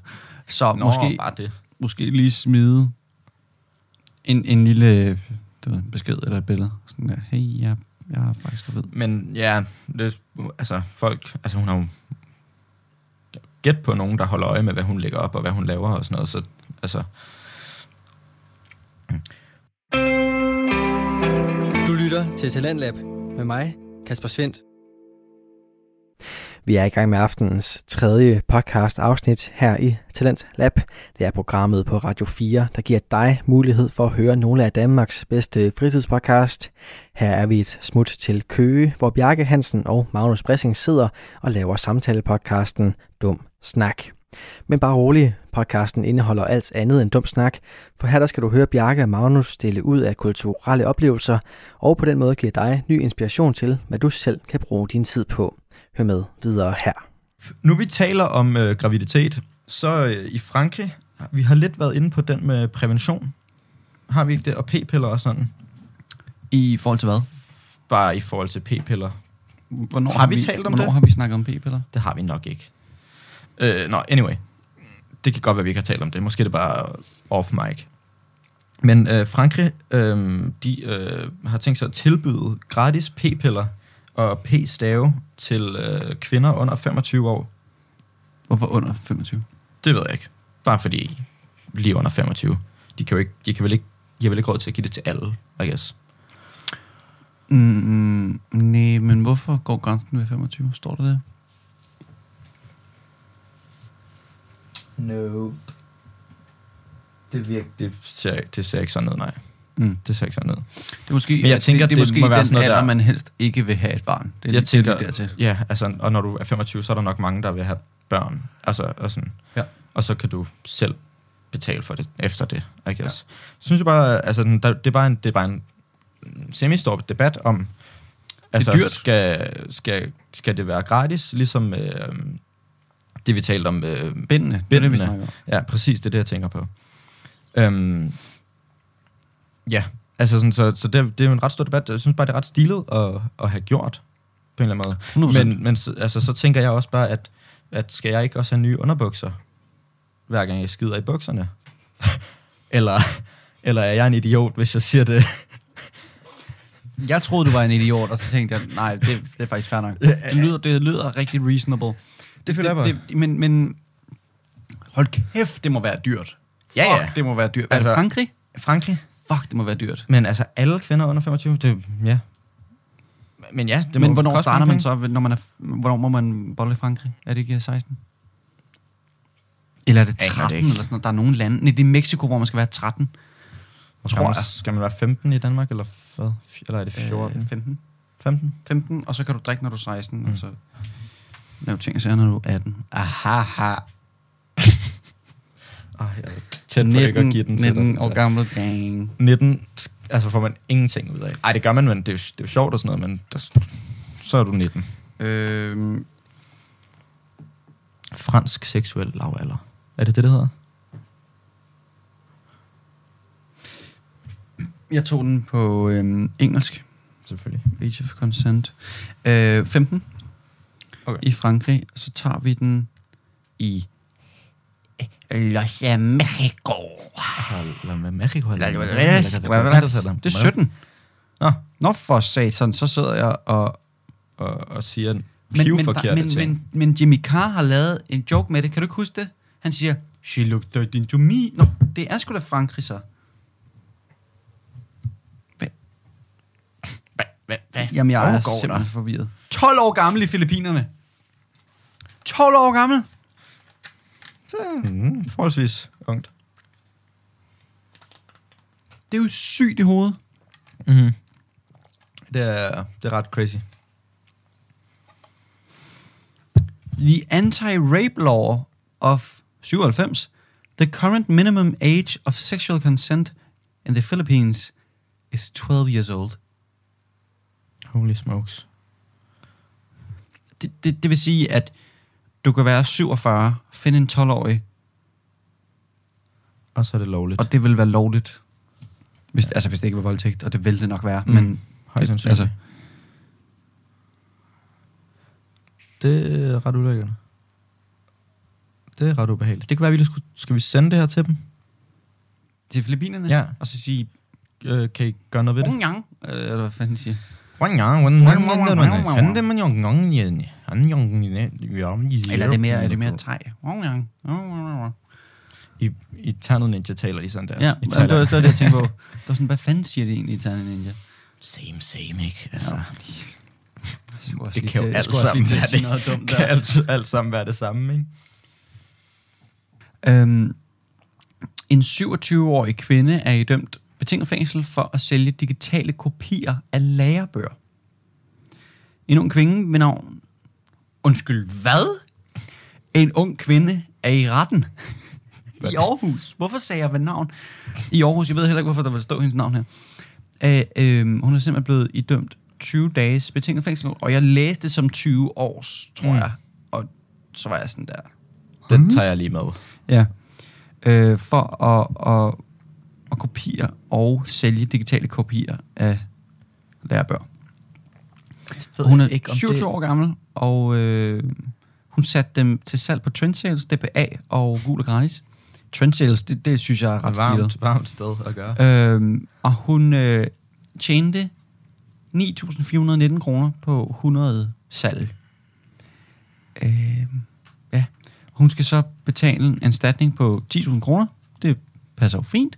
[SPEAKER 2] så
[SPEAKER 3] Nå,
[SPEAKER 2] måske,
[SPEAKER 3] bare det.
[SPEAKER 2] måske lige smide en, en lille du ved, besked eller et billede. Sådan der, hey, jeg, jeg er faktisk gravid.
[SPEAKER 3] Men ja, det, altså folk, altså hun har jo gæt på nogen, der holder øje med, hvad hun lægger op og hvad hun laver og sådan noget, så altså...
[SPEAKER 1] Du lytter til Talentlab med mig, Kasper Svendt. Vi er i gang med aftenens tredje podcast afsnit her i Talent Lab. Det er programmet på Radio 4, der giver dig mulighed for at høre nogle af Danmarks bedste fritidspodcast. Her er vi et smut til Køge, hvor Bjarke Hansen og Magnus Bressing sidder og laver samtalepodcasten Dum Snak. Men bare rolig, podcasten indeholder alt andet end dum snak, for her der skal du høre Bjarke og Magnus dele ud af kulturelle oplevelser, og på den måde giver dig ny inspiration til, hvad du selv kan bruge din tid på. Hør med videre her.
[SPEAKER 3] Nu vi taler om øh, graviditet, så øh, i Frankrig, vi har lidt været inde på den med prævention. Har vi ikke det? Og p-piller og sådan.
[SPEAKER 2] I forhold til hvad?
[SPEAKER 3] Bare i forhold til p-piller.
[SPEAKER 2] Hvornår
[SPEAKER 3] Har vi talt om
[SPEAKER 2] hvornår
[SPEAKER 3] det?
[SPEAKER 2] har vi snakket om p-piller?
[SPEAKER 3] Det har vi nok ikke. Øh, nå, anyway. Det kan godt være, vi ikke har talt om det. Måske er det bare off mic. Men øh, Frankrig, øh, de øh, har tænkt sig at tilbyde gratis p-piller og p-stave til øh, kvinder under 25 år.
[SPEAKER 2] Hvorfor under 25?
[SPEAKER 3] Det ved jeg ikke. Bare fordi lige under 25. De kan jo ikke, de kan vel ikke, de har vel ikke råd til at give det til alle, I guess.
[SPEAKER 2] Mm, nej, men hvorfor går grænsen ved 25? Står der det?
[SPEAKER 3] No. Det, virker, det, ser, det ser ikke sådan ud, nej.
[SPEAKER 2] Mm.
[SPEAKER 3] Det ser ikke sådan ud.
[SPEAKER 2] Det er måske,
[SPEAKER 3] Men jeg tænker,
[SPEAKER 2] det, det, er
[SPEAKER 3] det
[SPEAKER 2] måske
[SPEAKER 3] må være
[SPEAKER 2] den
[SPEAKER 3] sådan noget,
[SPEAKER 2] alder,
[SPEAKER 3] der-
[SPEAKER 2] man helst ikke vil have et barn. Det er
[SPEAKER 3] jeg
[SPEAKER 2] lige, tænker,
[SPEAKER 3] tænker,
[SPEAKER 2] det er lige dertil.
[SPEAKER 3] ja, altså, og når du er 25, så er der nok mange, der vil have børn. Altså, og, sådan.
[SPEAKER 2] Ja.
[SPEAKER 3] og så kan du selv betale for det efter det, I guess. Ja. Synes jeg bare, altså, den- der, det, er bare en, det er bare en semistor debat om, altså,
[SPEAKER 2] dyrt.
[SPEAKER 3] Skal, skal, skal det være gratis, ligesom øh, det, vi talte om øh,
[SPEAKER 2] Bindende, det er det, vi
[SPEAKER 3] Bindende.
[SPEAKER 2] snakker om.
[SPEAKER 3] Ja, præcis, det er det, jeg tænker på. Øhm, ja, altså sådan, så, så det, det er jo en ret stor debat. Jeg synes bare, det er ret stilet at, at have gjort, på en eller anden
[SPEAKER 2] 100%.
[SPEAKER 3] måde. Men, men så- altså, så tænker jeg også bare, at, at skal jeg ikke også have nye underbukser, hver gang jeg skider i bukserne? eller, eller er jeg en idiot, hvis jeg siger det?
[SPEAKER 2] Jeg troede, du var en idiot, og så tænkte jeg, nej, det, det er faktisk fair nok. Det lyder, det lyder rigtig reasonable.
[SPEAKER 3] Det føler jeg bare.
[SPEAKER 2] det, det, Men, men hold kæft, det må være dyrt.
[SPEAKER 3] Ja,
[SPEAKER 2] Fuck,
[SPEAKER 3] ja.
[SPEAKER 2] det må være dyrt. Altså, er
[SPEAKER 3] Altså-
[SPEAKER 2] det Frankrig?
[SPEAKER 3] Frankrig?
[SPEAKER 2] Fuck, det må være dyrt.
[SPEAKER 3] Men altså, alle kvinder under 25, det, ja. Men ja, det
[SPEAKER 2] Det
[SPEAKER 3] må
[SPEAKER 2] men hvornår
[SPEAKER 3] koste
[SPEAKER 2] starter
[SPEAKER 3] nogle
[SPEAKER 2] man
[SPEAKER 3] penge.
[SPEAKER 2] så, når man er, hvornår må man bolle i Frankrig? Er det ikke øh, 16? Eller er det
[SPEAKER 3] Aner det
[SPEAKER 2] 13
[SPEAKER 3] ikke.
[SPEAKER 2] eller sådan noget? Der er nogle lande. Nej, det er Mexico, hvor man skal være 13.
[SPEAKER 3] Skal man, skal man være 15 i Danmark, eller hvad? Eller er det 14?
[SPEAKER 2] Øh, 15.
[SPEAKER 3] 15?
[SPEAKER 2] 15, og så kan du drikke, når du er 16, mm. og så lave ting og sager, når du er 18. Aha, ha.
[SPEAKER 3] Ej, jeg er tæt
[SPEAKER 2] 19,
[SPEAKER 3] på ikke at give den til
[SPEAKER 2] 19
[SPEAKER 3] dig.
[SPEAKER 2] år gammel gang.
[SPEAKER 3] 19, altså får man ingenting ud af. Ej, det gør man, men det er, jo- det er jo sjovt og sådan noget, men der, så er du 19.
[SPEAKER 2] Øh,
[SPEAKER 3] Fransk seksuel lavalder. Er det det, det hedder?
[SPEAKER 2] jeg tog den på øh, engelsk.
[SPEAKER 3] Selvfølgelig.
[SPEAKER 2] Age of Consent. Øh, 15
[SPEAKER 3] Okay.
[SPEAKER 2] i Frankrig, og så tager vi den i Los Mexico. Det er 17.
[SPEAKER 3] Nå,
[SPEAKER 2] Nå for satan, så sidder jeg og
[SPEAKER 3] og, og siger en
[SPEAKER 2] men,
[SPEAKER 3] pivforkerte
[SPEAKER 2] men,
[SPEAKER 3] ting.
[SPEAKER 2] men, men Jimmy Carr har lavet en joke med det. Kan du ikke huske det? Han siger, she looked dirty to me. Nå, det er sgu da Frankrig så. Hva?
[SPEAKER 3] Hva- hva- hva-
[SPEAKER 2] Jamen, jeg er
[SPEAKER 3] foregår der?
[SPEAKER 2] simpelthen forvirret. 12 år gammel i Filippinerne. 12 år gammel?
[SPEAKER 3] Mm, forholdsvis ungt.
[SPEAKER 2] Det er jo sygt i hovedet.
[SPEAKER 3] Mm-hmm. Det, er, det er ret crazy.
[SPEAKER 2] The Anti-Rape Law of 97 The current minimum age of sexual consent in the Philippines is 12 years old.
[SPEAKER 3] Holy smokes.
[SPEAKER 2] Det, det, det vil sige, at du kan være 47, finde en 12-årig,
[SPEAKER 3] Og så er det lovligt.
[SPEAKER 2] og det vil være lovligt. Hvis, altså, hvis det ikke var voldtægt, og det vil det nok være. Mm. Men
[SPEAKER 3] Højst
[SPEAKER 2] Det-
[SPEAKER 3] sandsynligt.
[SPEAKER 2] altså-
[SPEAKER 3] Altså. Det er ret ulækkert. Det er ret ubehageligt. Det kan være, at vi lige skulle, skal vi sende det her til dem?
[SPEAKER 2] til Filippinerne,
[SPEAKER 3] Ja.
[SPEAKER 2] og så sige,
[SPEAKER 3] Øh, kan I gøre noget ved det?
[SPEAKER 2] Pyongyang, øh, eller hvad fanden de siger. Eller er det mere, er det mere thai? Pyongyang.
[SPEAKER 3] I, I Ternet Ninja taler de sådan der.
[SPEAKER 2] Ja,
[SPEAKER 3] I
[SPEAKER 2] men det var
[SPEAKER 3] Thailand.
[SPEAKER 2] det, var det, jeg tænkte på. Det var sådan, hvad fanden siger det egentlig i Ternet Ninja?
[SPEAKER 3] Same, same, ikke? Altså,
[SPEAKER 2] Jeg skulle også
[SPEAKER 3] det
[SPEAKER 2] lige
[SPEAKER 3] kan jo
[SPEAKER 2] til- jeg
[SPEAKER 3] alt
[SPEAKER 2] skulle også lige
[SPEAKER 3] sammen
[SPEAKER 2] til at sige
[SPEAKER 3] være
[SPEAKER 2] noget dumt
[SPEAKER 3] det. Kan
[SPEAKER 2] der.
[SPEAKER 3] alt, alt sammen være det samme, ikke?
[SPEAKER 2] Øhm, en 27-årig kvinde er i dømt betinget fængsel for at sælge digitale kopier af lagerbøger. En ung kvinde ved navn... Undskyld, hvad? En ung kvinde er i retten. I Aarhus. Hvorfor sagde jeg ved navn? I Aarhus. Jeg ved heller ikke, hvorfor der vil stå hendes navn her. Øh, øh, hun er simpelthen blevet idømt 20 dages betinget fængsel, og jeg læste det som 20 års, tror
[SPEAKER 3] Mm.
[SPEAKER 2] jeg. Og så var jeg sådan der...
[SPEAKER 3] Den tager jeg lige med.
[SPEAKER 2] Ja. Øh, for at, at, at kopiere og sælge digitale kopier af lærebøger. Hun er 27 år gammel, og øh, hun satte dem til salg på Trendsales, DBA og Gul og Gratis. Trendsales, det, det synes jeg er ret
[SPEAKER 3] Ret
[SPEAKER 2] stilet.
[SPEAKER 3] varmt, varmt sted at gøre.
[SPEAKER 2] Øhm, og hun øh, tjente 9.419 kroner på 100 salg. Øhm, ja. Hun skal så betale en erstatning på 10.000 kroner. Det passer jo fint.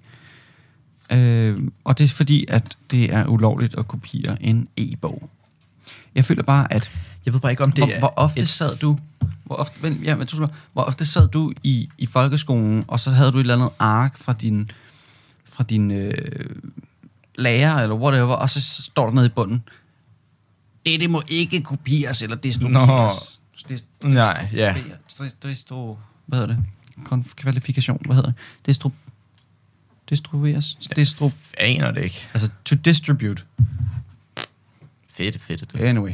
[SPEAKER 2] Øhm, og det er fordi, at det er ulovligt at kopiere en e-bog. Jeg føler bare, at
[SPEAKER 3] Jeg ved bare ikke, om det
[SPEAKER 2] hvor,
[SPEAKER 3] er
[SPEAKER 2] hvor ofte
[SPEAKER 3] et-
[SPEAKER 2] sad du hvor ofte, vent, ja, men, du skal- hvor ofte sad du i, i folkeskolen, og så havde du et eller andet ark fra din, fra din øh, lærer, eller whatever, og så står der nede i bunden, det, det må ikke kopieres, eller destrueres. Det, det,
[SPEAKER 3] Nej, ja.
[SPEAKER 2] Destro, hvad hedder det? Konf- kvalifikation, hvad hedder det? Destro, destrueres? Destro,
[SPEAKER 3] Aner det ikke.
[SPEAKER 2] altså to distribute.
[SPEAKER 3] Fedt, fedt. Du.
[SPEAKER 2] Anyway.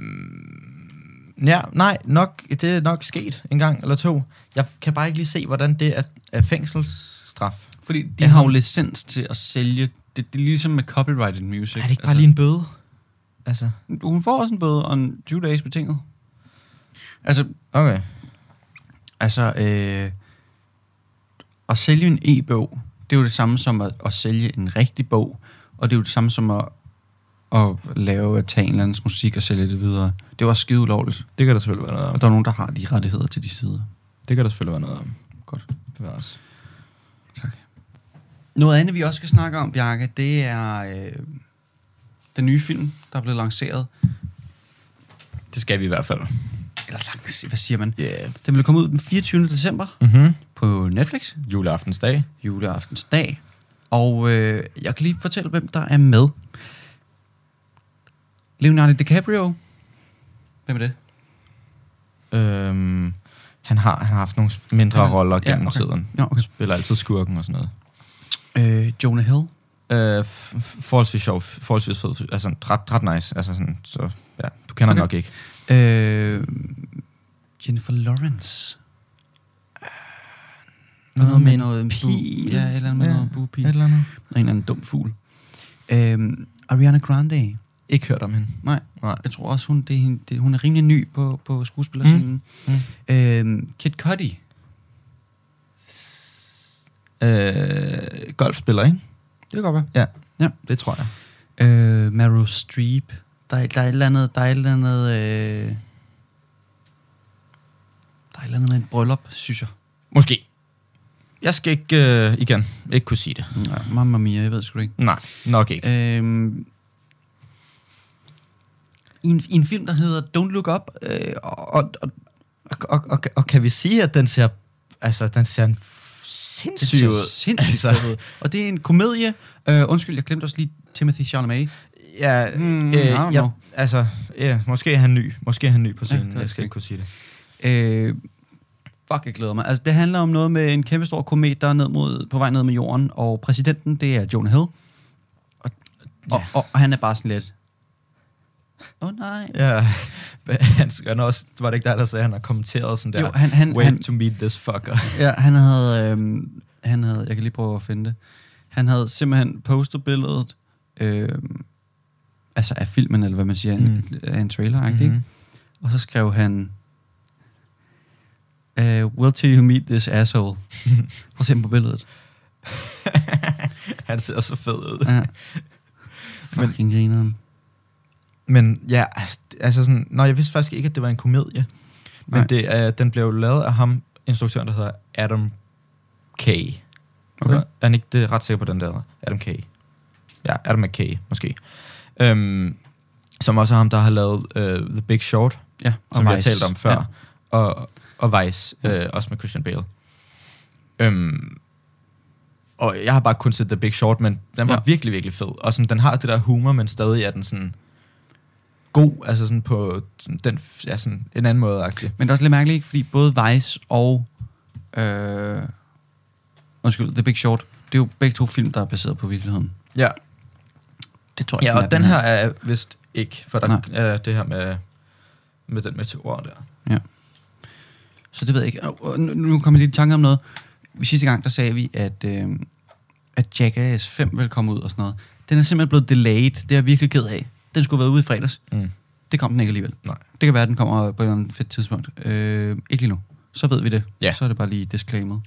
[SPEAKER 3] Øhm, ja, nej, nok, det er nok sket en gang eller to. Jeg kan bare ikke lige se, hvordan det er, er fængselsstraf.
[SPEAKER 2] Fordi de
[SPEAKER 3] Ja.
[SPEAKER 2] har jo licens til at sælge, det, det er ligesom med copyrighted music.
[SPEAKER 3] Er det ikke bare lige en bøde? Altså,
[SPEAKER 2] lige... Hun får også en bøde og en 20 dages betinget. Altså,
[SPEAKER 3] okay.
[SPEAKER 2] altså øh, at sælge en e-bog, det er jo det samme som at, at sælge en rigtig bog, og det er jo det samme som at, at lave, at tage en eller andens musik og sælge det videre. Det var skide ulovligt,
[SPEAKER 3] Det kan der selvfølgelig være noget
[SPEAKER 2] og der er nogen, der har de rettigheder til de sider.
[SPEAKER 3] Det kan der selvfølgelig være noget om.
[SPEAKER 2] Godt.
[SPEAKER 3] Det var også.
[SPEAKER 2] Noget andet, vi også skal snakke om, Bjarke, det er øh, den nye film, der er blevet lanceret.
[SPEAKER 3] Det skal vi i hvert fald.
[SPEAKER 2] Eller langs, hvad siger man?
[SPEAKER 3] Ja. Yeah.
[SPEAKER 2] Den vil komme ud den 24. december
[SPEAKER 3] Mm-hmm.
[SPEAKER 2] på Netflix,
[SPEAKER 3] Juleaftensdag.
[SPEAKER 2] juleaftens dag. Og øh, jeg kan lige fortælle, hvem der er med. Leonardo DiCaprio. Hvem er det?
[SPEAKER 3] Øhm, han, har, han har haft nogle mindre
[SPEAKER 2] Han-
[SPEAKER 3] roller
[SPEAKER 2] ja,
[SPEAKER 3] gennem
[SPEAKER 2] okay.
[SPEAKER 3] tiden.
[SPEAKER 2] Ja, okay.
[SPEAKER 3] Spiller altid skurken og sådan noget.
[SPEAKER 2] Øh, Jonah Hill.
[SPEAKER 3] Øh, f- f- forholdsvis sjov, forholdsvis fed, fyr. altså ret, ret nice, altså sådan, så ja, du
[SPEAKER 2] Okay.
[SPEAKER 3] kender okay. nok ikke.
[SPEAKER 2] Øh, Jennifer Lawrence. Der er
[SPEAKER 3] Noget
[SPEAKER 2] Øh, noget
[SPEAKER 3] med
[SPEAKER 2] med
[SPEAKER 3] en
[SPEAKER 2] noget
[SPEAKER 3] pil.
[SPEAKER 2] Ja, et eller andet med
[SPEAKER 3] Ja,
[SPEAKER 2] noget bupil.
[SPEAKER 3] eller andet.
[SPEAKER 2] Og en eller anden dum fugl. Øhm, Ariana Grande.
[SPEAKER 3] Ikke hørt om hende.
[SPEAKER 2] Nej,
[SPEAKER 3] Nej.
[SPEAKER 2] jeg tror også, hun, det, er hende- det, hun er rimelig ny på, på skuespillerscenen.
[SPEAKER 3] Mm.
[SPEAKER 2] Mm. Øhm, Kid Cudi.
[SPEAKER 3] Øh, golfspiller, ikke?
[SPEAKER 2] Det kan godt være.
[SPEAKER 3] Det tror jeg.
[SPEAKER 2] Øh, Meryl Streep. Der er, der er et eller andet... Der er et eller andet... Øh, der er et eller andet med en bryllup, synes jeg.
[SPEAKER 3] Måske. Jeg skal ikke, øh, igen, ikke kunne sige det.
[SPEAKER 2] Ja. Mamma mia, jeg ved sgu det ikke.
[SPEAKER 3] Nej, nok ikke.
[SPEAKER 2] Øhm, i, en, I en film, der hedder Don't Look Up, øh, og, og, og
[SPEAKER 3] Og, og, og, og kan vi sige, at den ser, altså, den ser en
[SPEAKER 2] det
[SPEAKER 3] sindssyg
[SPEAKER 2] ser
[SPEAKER 3] ud?
[SPEAKER 2] sindssygt
[SPEAKER 3] Altså.
[SPEAKER 2] altså. ud. Og det er en komedie. Øh, undskyld, jeg glemte også lige Timothy Chalamet.
[SPEAKER 3] Ja,
[SPEAKER 2] Mm,
[SPEAKER 3] mm,
[SPEAKER 2] I
[SPEAKER 3] øh,
[SPEAKER 2] don't know.
[SPEAKER 3] jeg, altså, ja, måske er han ny. Måske er han ny på
[SPEAKER 2] Ja,
[SPEAKER 3] scenen.
[SPEAKER 2] det
[SPEAKER 3] Ja,
[SPEAKER 2] ved
[SPEAKER 3] jeg
[SPEAKER 2] jeg
[SPEAKER 3] skal ikke
[SPEAKER 2] ikke.
[SPEAKER 3] kunne sige det.
[SPEAKER 2] Øh, fuck, jeg glæder mig. Altså, det handler om noget med en kæmpe stor komet, der er ned mod, på vej ned med jorden, og præsidenten, det er Jonah Hill. Og, og, og, og han er bare sådan lidt... Åh oh, nej.
[SPEAKER 3] Ja, men han, han er også, var det ikke der, der sagde, at han har kommenteret sådan der,
[SPEAKER 2] Jo, han- han-
[SPEAKER 3] wait
[SPEAKER 2] han-
[SPEAKER 3] to meet this fucker.
[SPEAKER 2] Ja, han havde, øhm, han havde, jeg kan lige prøve at finde det. Han havde simpelthen postet billedet, øhm, altså af filmen, eller hvad man siger, mm. en, af en trailer, mm-hmm. ikke? Og så skrev han, uh, will till you meet this asshole. Prøv at se ham på billedet.
[SPEAKER 3] han ser så fed ud.
[SPEAKER 2] Ja. Fucking grineren.
[SPEAKER 3] Men ja, altså, altså sådan, nej, jeg vidste faktisk ikke, at det var en komedie.
[SPEAKER 2] Nej.
[SPEAKER 3] Men det, øh, den blev jo lavet af ham, instruktøren, der hedder Adam K. Okay. Er han ikke det, ret sikker på den der? Adam K. Ja, Adam McKay, måske. Øhm, som også er ham, der har lavet øh, The Big Short,
[SPEAKER 2] Ja,
[SPEAKER 3] som vi har
[SPEAKER 2] Vice.
[SPEAKER 3] talt om før, ja. og, og Vice, øh, også med Christian Bale. Øhm, og jeg har bare kun set The Big Short, men den var
[SPEAKER 2] Ja.
[SPEAKER 3] ja. virkelig, virkelig fed. Og sådan, den har det der humor, men stadig er den sådan god, altså sådan på sådan, den, f- ja, sådan en anden måde. -agtig.
[SPEAKER 2] Men det er også lidt mærkeligt, ikke? fordi både Vice og... Øh, undskyld, The Big Short, det er jo begge to film, der er baseret på virkeligheden.
[SPEAKER 3] Ja,
[SPEAKER 2] Det tror jeg
[SPEAKER 3] ja
[SPEAKER 2] ikke,
[SPEAKER 3] og den her er vist ikke, for der
[SPEAKER 2] Nej.
[SPEAKER 3] er det her med, med den meteor der.
[SPEAKER 2] Så det ved jeg ikke. Og- og Nu, nu kommer jeg lige i tanke om noget. Sidste gang, der sagde vi, at, øh, at Jackass 5 ville komme ud og sådan noget. Den er simpelthen blevet delayed. Det er jeg virkelig ked af. Den skulle have været ude i fredags.
[SPEAKER 3] Mm.
[SPEAKER 2] Det kom den ikke alligevel.
[SPEAKER 3] Nej.
[SPEAKER 2] Det kan være, at den kommer på et eller andet fedt tidspunkt. Øh, ikke lige nu. Så ved vi det.
[SPEAKER 3] Ja.
[SPEAKER 2] Så er det bare lige disclaimet.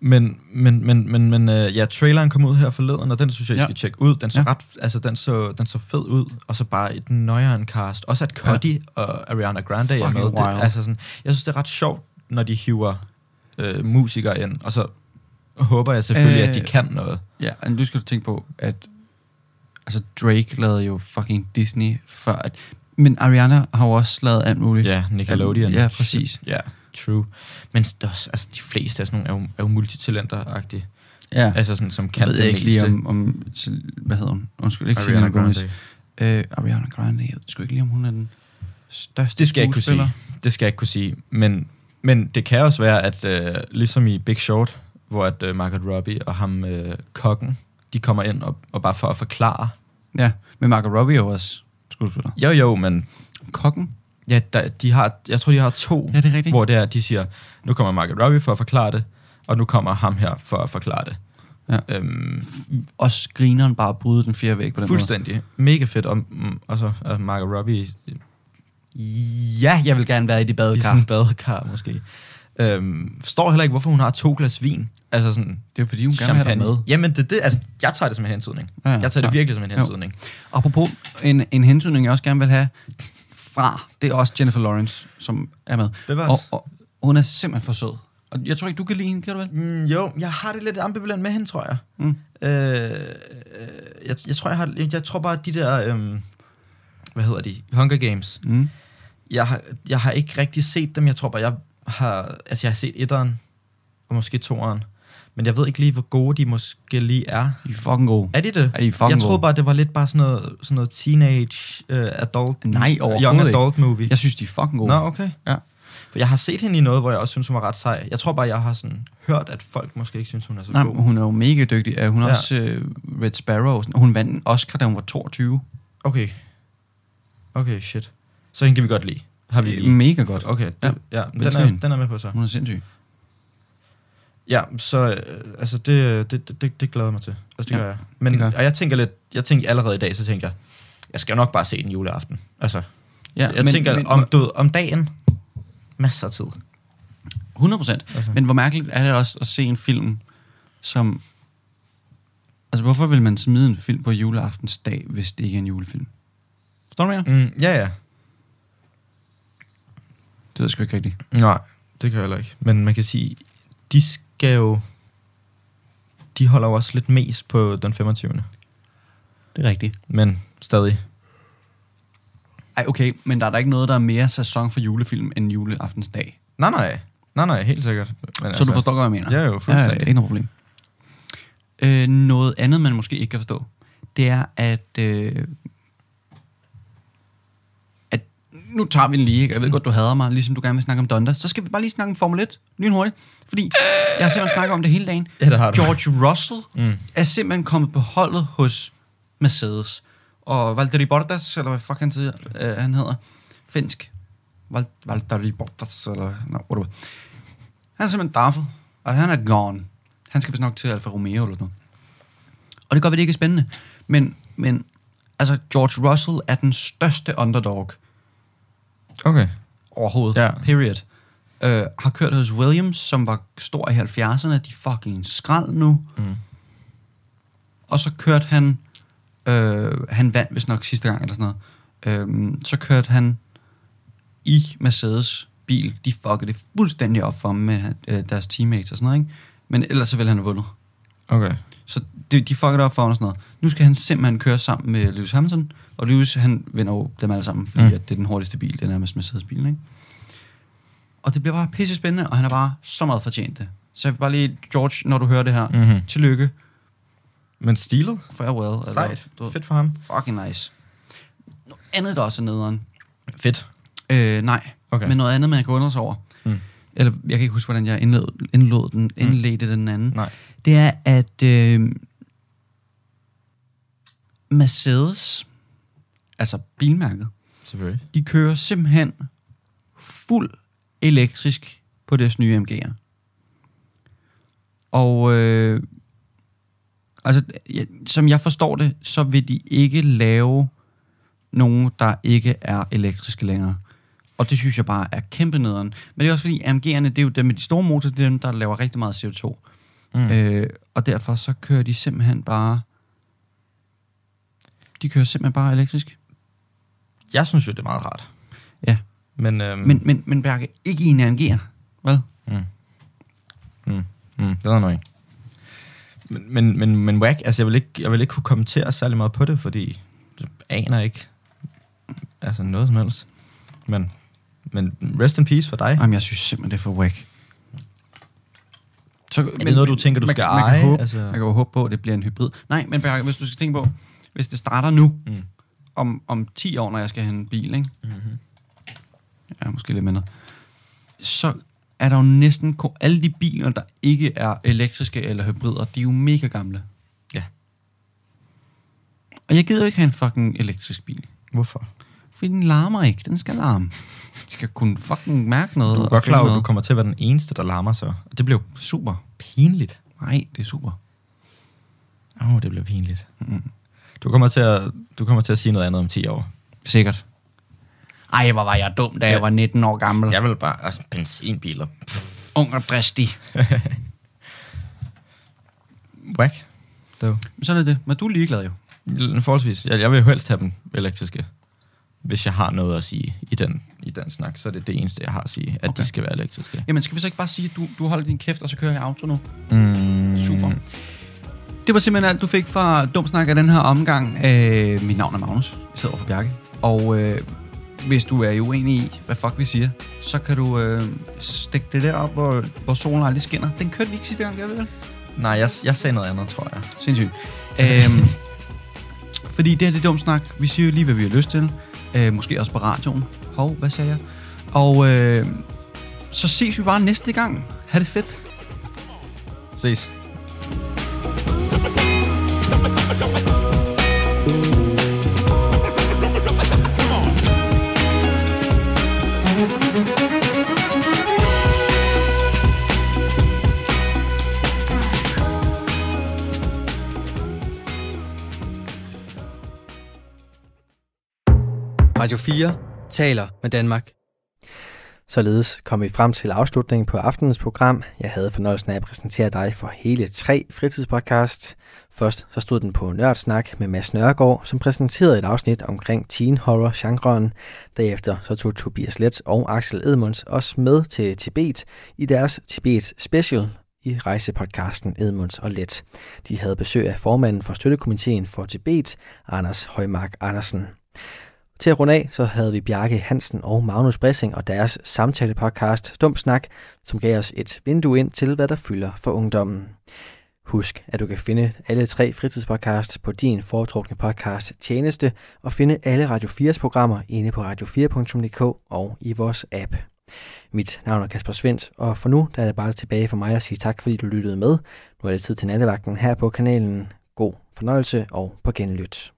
[SPEAKER 3] Men, men, men, men, men øh, ja, traileren kom ud her forleden, og den synes jeg, I
[SPEAKER 2] Ja.
[SPEAKER 3] skal tjekke ud. Den så,
[SPEAKER 2] Ja.
[SPEAKER 3] ja. ret, altså, den så, den så fed ud, og så bare et nøjeren cast. Også at Cuddy ja. og Ariana Grande er med.
[SPEAKER 2] Fucking wild.
[SPEAKER 3] Det, altså sådan, jeg synes, det er ret sjovt, når de hiver øh, musikere ind, og så håber jeg selvfølgelig, øh, at de
[SPEAKER 2] Øh.
[SPEAKER 3] kan noget.
[SPEAKER 2] Ja, og nu skal du tænke på, at altså Drake lavede jo fucking Disney før. At, men Ariana har jo også lavet alt muligt.
[SPEAKER 3] Ja, Nickelodeon.
[SPEAKER 2] Ja, præcis.
[SPEAKER 3] Ja, true. Men det er også- altså, de fleste af sådan nogle er jo, er jo multitalenter-agtige.
[SPEAKER 2] Ja.
[SPEAKER 3] Altså sådan, som
[SPEAKER 2] Jeg
[SPEAKER 3] kan
[SPEAKER 2] ved
[SPEAKER 3] det
[SPEAKER 2] jeg ikke lige
[SPEAKER 3] meste.
[SPEAKER 2] om, om, Sil- hvad hedder hun? Undskyld, ikke
[SPEAKER 3] Ariana
[SPEAKER 2] Selena Gomez.
[SPEAKER 3] Grande.
[SPEAKER 2] Øh, Ariana Grande, jeg ved sgu ikke lige, om hun er den største
[SPEAKER 3] Det skal jeg ikke kunne
[SPEAKER 2] skuespiller.
[SPEAKER 3] sige. Det skal jeg ikke kunne sige. Men, men det kan også være, at øh, ligesom i Big Short, hvor at øh, Margaret Robbie og ham øh, kokken, de kommer ind og, og bare for at forklare.
[SPEAKER 2] Ja, men Margot Robbie er jo også skuespiller.
[SPEAKER 3] Jo jo, men
[SPEAKER 2] Kokken?
[SPEAKER 3] ja, der, de har, jeg tror, de har to,
[SPEAKER 2] Ja, det er rigtigt.
[SPEAKER 3] hvor det er, at de siger, nu kommer Margaret Robbie for at forklare det, og nu kommer ham her for at forklare det.
[SPEAKER 2] Ja.
[SPEAKER 3] Øhm,
[SPEAKER 2] Og screeneren bare bryder den fjerde væg på den
[SPEAKER 3] fuldstændig. Mega fedt. Og, mm, og så er Margaret Robbie
[SPEAKER 2] måde. Ja, jeg vil gerne være i det
[SPEAKER 3] I
[SPEAKER 2] badekar.
[SPEAKER 3] sådan en badekar, måske. Øhm, forstår heller ikke, hvorfor hun har to glas vin. Altså sådan
[SPEAKER 2] Det er jo fordi, hun gerne vil have dig
[SPEAKER 3] champagne.
[SPEAKER 2] med.
[SPEAKER 3] Jamen, det, det, altså, jeg tager det som en hensydning.
[SPEAKER 2] Ja,
[SPEAKER 3] Ja,
[SPEAKER 2] ja,
[SPEAKER 3] jeg tager det
[SPEAKER 2] ja.
[SPEAKER 3] virkelig som en
[SPEAKER 2] Jo.
[SPEAKER 3] hensydning.
[SPEAKER 2] Apropos en, en hensynning, jeg også gerne vil have fra, det er også Jennifer Lawrence, som er med.
[SPEAKER 3] Det var
[SPEAKER 2] og,
[SPEAKER 3] også-
[SPEAKER 2] og, hun er simpelthen for sød. Og jeg tror ikke, du kan lide hende, kan du vel?
[SPEAKER 3] Mm, jo, jeg har det lidt ambivalent med hende, tror jeg.
[SPEAKER 2] Mm.
[SPEAKER 3] Øh, øh, jeg, jeg, tror, jeg, har, jeg, jeg tror bare, at de der... Øhm, hvad hedder de? Hunger Games.
[SPEAKER 2] Mm.
[SPEAKER 3] Jeg har, jeg har ikke rigtig set dem. Jeg tror bare, jeg har... Altså, jeg har set etteren, og måske toeren. Men jeg ved ikke lige, hvor gode de måske lige er.
[SPEAKER 2] De er fucking gode.
[SPEAKER 3] Er de det?
[SPEAKER 2] Er de fucking
[SPEAKER 3] jeg troede
[SPEAKER 2] gode?
[SPEAKER 3] bare, det var lidt bare sådan noget, sådan noget teenage øh, adult,
[SPEAKER 2] Nej, overhovedet
[SPEAKER 3] young
[SPEAKER 2] ikke.
[SPEAKER 3] adult movie.
[SPEAKER 2] Jeg synes, de er fucking gode.
[SPEAKER 3] Nå, okay.
[SPEAKER 2] Ja.
[SPEAKER 3] For jeg har set hende i noget, hvor jeg også synes, hun var ret sej. Jeg tror bare, jeg har sådan hørt, at folk måske ikke synes, hun er så
[SPEAKER 2] Nej,
[SPEAKER 3] god.
[SPEAKER 2] men hun er jo mega dygtig. Ja, Hun er ja.
[SPEAKER 3] Ja.
[SPEAKER 2] også øh, Red Sparrow. og sådan- Hun vandt en Oscar, da hun var 22.
[SPEAKER 3] Okay. Okay, shit. Så hende kan vi godt lide. Har vi
[SPEAKER 2] Øh,
[SPEAKER 3] lige.
[SPEAKER 2] Mega godt.
[SPEAKER 3] Okay, det,
[SPEAKER 2] Ja.
[SPEAKER 3] ja. ja den,
[SPEAKER 2] tage hende. Mm.
[SPEAKER 3] er, den er med på så.
[SPEAKER 2] Hun er sindssyg.
[SPEAKER 3] Ja, så øh, altså det, det, det- det, det glæder jeg mig til. Altså,
[SPEAKER 2] Ja,
[SPEAKER 3] det ja, gør jeg. Men
[SPEAKER 2] det gør jeg.
[SPEAKER 3] og jeg tænker lidt, jeg tænkte allerede i dag, så tænkte jeg, jeg skal jo nok bare se den juleaften. Altså, ja, jeg men, tænker men, om, du, ved, om dagen, masser af tid.
[SPEAKER 2] 100 procent.
[SPEAKER 3] Altså.
[SPEAKER 2] Men hvor mærkeligt er det også at se en film, som... Altså, hvorfor vil man smide en film på juleaftensdag, hvis det ikke er en julefilm? Forstår du, hvad jeg mener?
[SPEAKER 3] Mm, ja, ja.
[SPEAKER 2] Det ved jeg sgu ikke rigtigt.
[SPEAKER 3] Nej, det kan jeg heller ikke. Men man kan sige, de skal jo... De holder jo også lidt mest på den 25.
[SPEAKER 2] Det er rigtigt.
[SPEAKER 3] Men stadig.
[SPEAKER 2] Ej, okay, men der er da ikke noget, der er mere sæson for julefilm end juleaftensdag.
[SPEAKER 3] Nej, nej. Nej, nej, helt sikkert. Men altså-
[SPEAKER 2] Så du forstår godt, hvad jeg mener?
[SPEAKER 3] Ja, jo,
[SPEAKER 2] Ja, ja,
[SPEAKER 3] fuldstændig.
[SPEAKER 2] ikke noget problem. Øh, noget andet, man måske ikke kan forstå, det er, at, øh, at nu tager vi den lige, ikke?
[SPEAKER 3] Mm.
[SPEAKER 2] jeg ved godt, du hader mig, ligesom du gerne vil snakke om Donda, så skal vi bare lige snakke om Formel 1, lynhurtigt, fordi jeg har simpelthen snakket om det hele dagen.
[SPEAKER 3] Ja, det har du.
[SPEAKER 2] George Russell
[SPEAKER 3] Mm.
[SPEAKER 2] mm. er simpelthen kommet på holdet hos Mercedes, og Valtteri Bottas, eller hvad fuck han, siger, øh, han hedder, finsk, Val- Valtteri Bottas, eller no, whatever. Han er simpelthen daffet, og han er gone. Han skal vist nok til Alfa Romeo eller sådan noget. Og det gør, at det ikke er spændende. Men, men altså, George Russell er den største underdog
[SPEAKER 3] Okay.
[SPEAKER 2] overhovedet.
[SPEAKER 3] Ja.
[SPEAKER 2] Period. Øh, har kørt hos Williams, som var stor i 70'erne. De er fucking skrald nu.
[SPEAKER 3] Mm.
[SPEAKER 2] Og så kørte han... Øh, han vandt vist nok sidste gang, eller sådan noget. Øh, så kørte han i Mercedes bil. De fuckede det fuldstændig op for ham med øh, deres teammates og sådan noget, ikke? Men ellers så ville han have vundet.
[SPEAKER 3] Okay.
[SPEAKER 2] Så de, de fuckede op for ham og sådan noget. Nu skal han simpelthen køre sammen med Lewis Hamilton, og Lewis, han vinder jo dem alle sammen, fordi
[SPEAKER 3] Mm.
[SPEAKER 2] mm. at det er den hurtigste bil, det er nærmest Mercedes-bilen, ikke? Og det bliver bare pisse spændende, og han er bare så meget fortjent det. Så jeg vil bare lige, George, når du hører det her, mm.
[SPEAKER 3] Mm-hmm.
[SPEAKER 2] tillykke,
[SPEAKER 3] Men stilet?
[SPEAKER 2] farewell. eller-
[SPEAKER 3] Sejt.
[SPEAKER 2] altså. Du,
[SPEAKER 3] Fedt for ham.
[SPEAKER 2] fucking nice. Noget andet, der også er nederen.
[SPEAKER 3] Fedt.
[SPEAKER 2] Øh, nej,
[SPEAKER 3] Okay.
[SPEAKER 2] men noget andet, man kan undre sig over.
[SPEAKER 3] Mm.
[SPEAKER 2] Eller, jeg kan ikke huske, hvordan jeg indled, indlod den, indledte den anden.
[SPEAKER 3] Nej.
[SPEAKER 2] det er, at øh, Mercedes, altså bilmærket,
[SPEAKER 3] Selvfølgelig.
[SPEAKER 2] de kører simpelthen fuld elektrisk på deres nye MG'er. Og øh, altså, ja, som jeg forstår det, så vil de ikke lave nogen, der ikke er elektriske længere. Og det synes jeg bare er kæmpe nederen. Men det er også fordi, AMG'erne, det er jo dem med de store motorer, det er dem, der laver rigtig meget CO2.
[SPEAKER 3] Mm.
[SPEAKER 2] Øh, og derfor så kører de simpelthen bare... De kører simpelthen bare elektrisk.
[SPEAKER 3] Jeg synes jo, det er meget rart.
[SPEAKER 2] Ja.
[SPEAKER 3] Men, øhm,
[SPEAKER 2] Men, men, men Bjarke, ikke i en AMG'er, vel?
[SPEAKER 3] Mm. Mm. Mm. Det er noget. Men, men, men, men whack, altså jeg vil, ikke, jeg vil ikke kunne kommentere særlig meget på det, fordi jeg aner ikke altså noget som helst. Men, men rest in peace for dig.
[SPEAKER 2] Jamen, jeg synes simpelthen, det er for whack. Så, men,
[SPEAKER 3] noget, du tænker, du
[SPEAKER 2] man,
[SPEAKER 3] skal
[SPEAKER 2] man
[SPEAKER 3] eje?
[SPEAKER 2] Kan håbe,
[SPEAKER 3] Altså-
[SPEAKER 2] altså... Man kan jo håbe på, at det bliver en hybrid. Nej, men Bjarke, hvis du skal tænke på, hvis det starter nu,
[SPEAKER 3] Mm.
[SPEAKER 2] om, om 10 år, når jeg skal have en bil, ikke?
[SPEAKER 3] Mm-hmm.
[SPEAKER 2] Ja, måske lidt mindre. Så er der jo næsten... kun- Alle de biler, der ikke er elektriske eller hybrider, de er jo mega gamle.
[SPEAKER 3] Ja.
[SPEAKER 2] Og jeg gider jo ikke have en fucking elektrisk bil.
[SPEAKER 3] Hvorfor?
[SPEAKER 2] Fordi den larmer ikke. Den skal larme. Den skal kunne fucking mærke noget.
[SPEAKER 3] Du er
[SPEAKER 2] og
[SPEAKER 3] godt
[SPEAKER 2] finde
[SPEAKER 3] klar over, at
[SPEAKER 2] noget.
[SPEAKER 3] du kommer til at være den eneste, der larmer sig. Og det blev
[SPEAKER 2] Super.
[SPEAKER 3] pinligt.
[SPEAKER 2] Nej, det er super.
[SPEAKER 3] Åh, oh, det blev pinligt. Mm. Du, kommer til at, du kommer til at sige noget andet om 10 år.
[SPEAKER 2] Sikkert. Ej, hvor var jeg dum, da
[SPEAKER 3] Ja.
[SPEAKER 2] jeg var 19 år gammel. Ja.
[SPEAKER 3] Jeg vil bare... Altså, benzinbiler.
[SPEAKER 2] Ung og dristig.
[SPEAKER 3] Whack. Det var.
[SPEAKER 2] Men sådan er det. Men du er ligeglad jo.
[SPEAKER 3] Forholdsvis. Jeg, jeg vil jo helst have dem elektriske. Hvis jeg har noget at sige i den, i den snak, så er det det eneste, jeg har at sige, at okay.
[SPEAKER 2] Okay.
[SPEAKER 3] de skal være elektriske.
[SPEAKER 2] Jamen, skal vi så ikke bare sige, at du, du holder din kæft, og så kører jeg auto nu?
[SPEAKER 3] Mm.
[SPEAKER 2] Super. Det var simpelthen alt, du fik fra Dumsnak af den her omgang. Øh, mit navn er Magnus. Jeg sidder over for Bjarke. Og øh, hvis du er uenig i, hvad fuck vi siger, så kan du øh, stikke det der op, hvor, hvor solen aldrig skinner. Den kørte vi ikke sidste gang, gør vi vel?
[SPEAKER 3] Nej, jeg, jeg sagde noget andet, tror jeg.
[SPEAKER 2] Sindssygt. Øhm, fordi det her det er dumt snak. Vi siger jo lige, hvad vi har lyst til. Øh, måske også på radioen. Hov, hvad sagde jeg? Og øh, så ses vi bare næste gang. Ha' det fedt.
[SPEAKER 3] Ses.
[SPEAKER 1] Radio 4 taler med Danmark. Således kom vi frem til afslutningen på aftenens program. Jeg havde fornøjelsen af at præsentere dig for hele tre fritidspodcasts. Først så stod den på Nørdsnak med Mads Nørgaard, som præsenterede et afsnit omkring teen horror genren. Derefter så tog Tobias Let og Axel Edmunds også med til Tibet i deres Tibet Special i rejsepodcasten Edmunds og Let. De havde besøg af formanden for støttekomiteen for Tibet, Anders Højmark Andersen. Til at runde af, så havde vi Bjarke Hansen og Magnus Bressing og deres samtalepodcast Dum Snak, som gav os et vindue ind til, hvad der fylder for ungdommen. Husk, at du kan finde alle tre fritidspodcasts på din foretrukne podcast tjeneste og finde alle Radio 4's programmer inde på radio4.dk og i vores app. Mit navn er Kasper Svendt, og for nu der er det bare tilbage for mig at sige tak, fordi du lyttede med. Nu er det tid til nattevagten her på kanalen. God fornøjelse og på genlyt.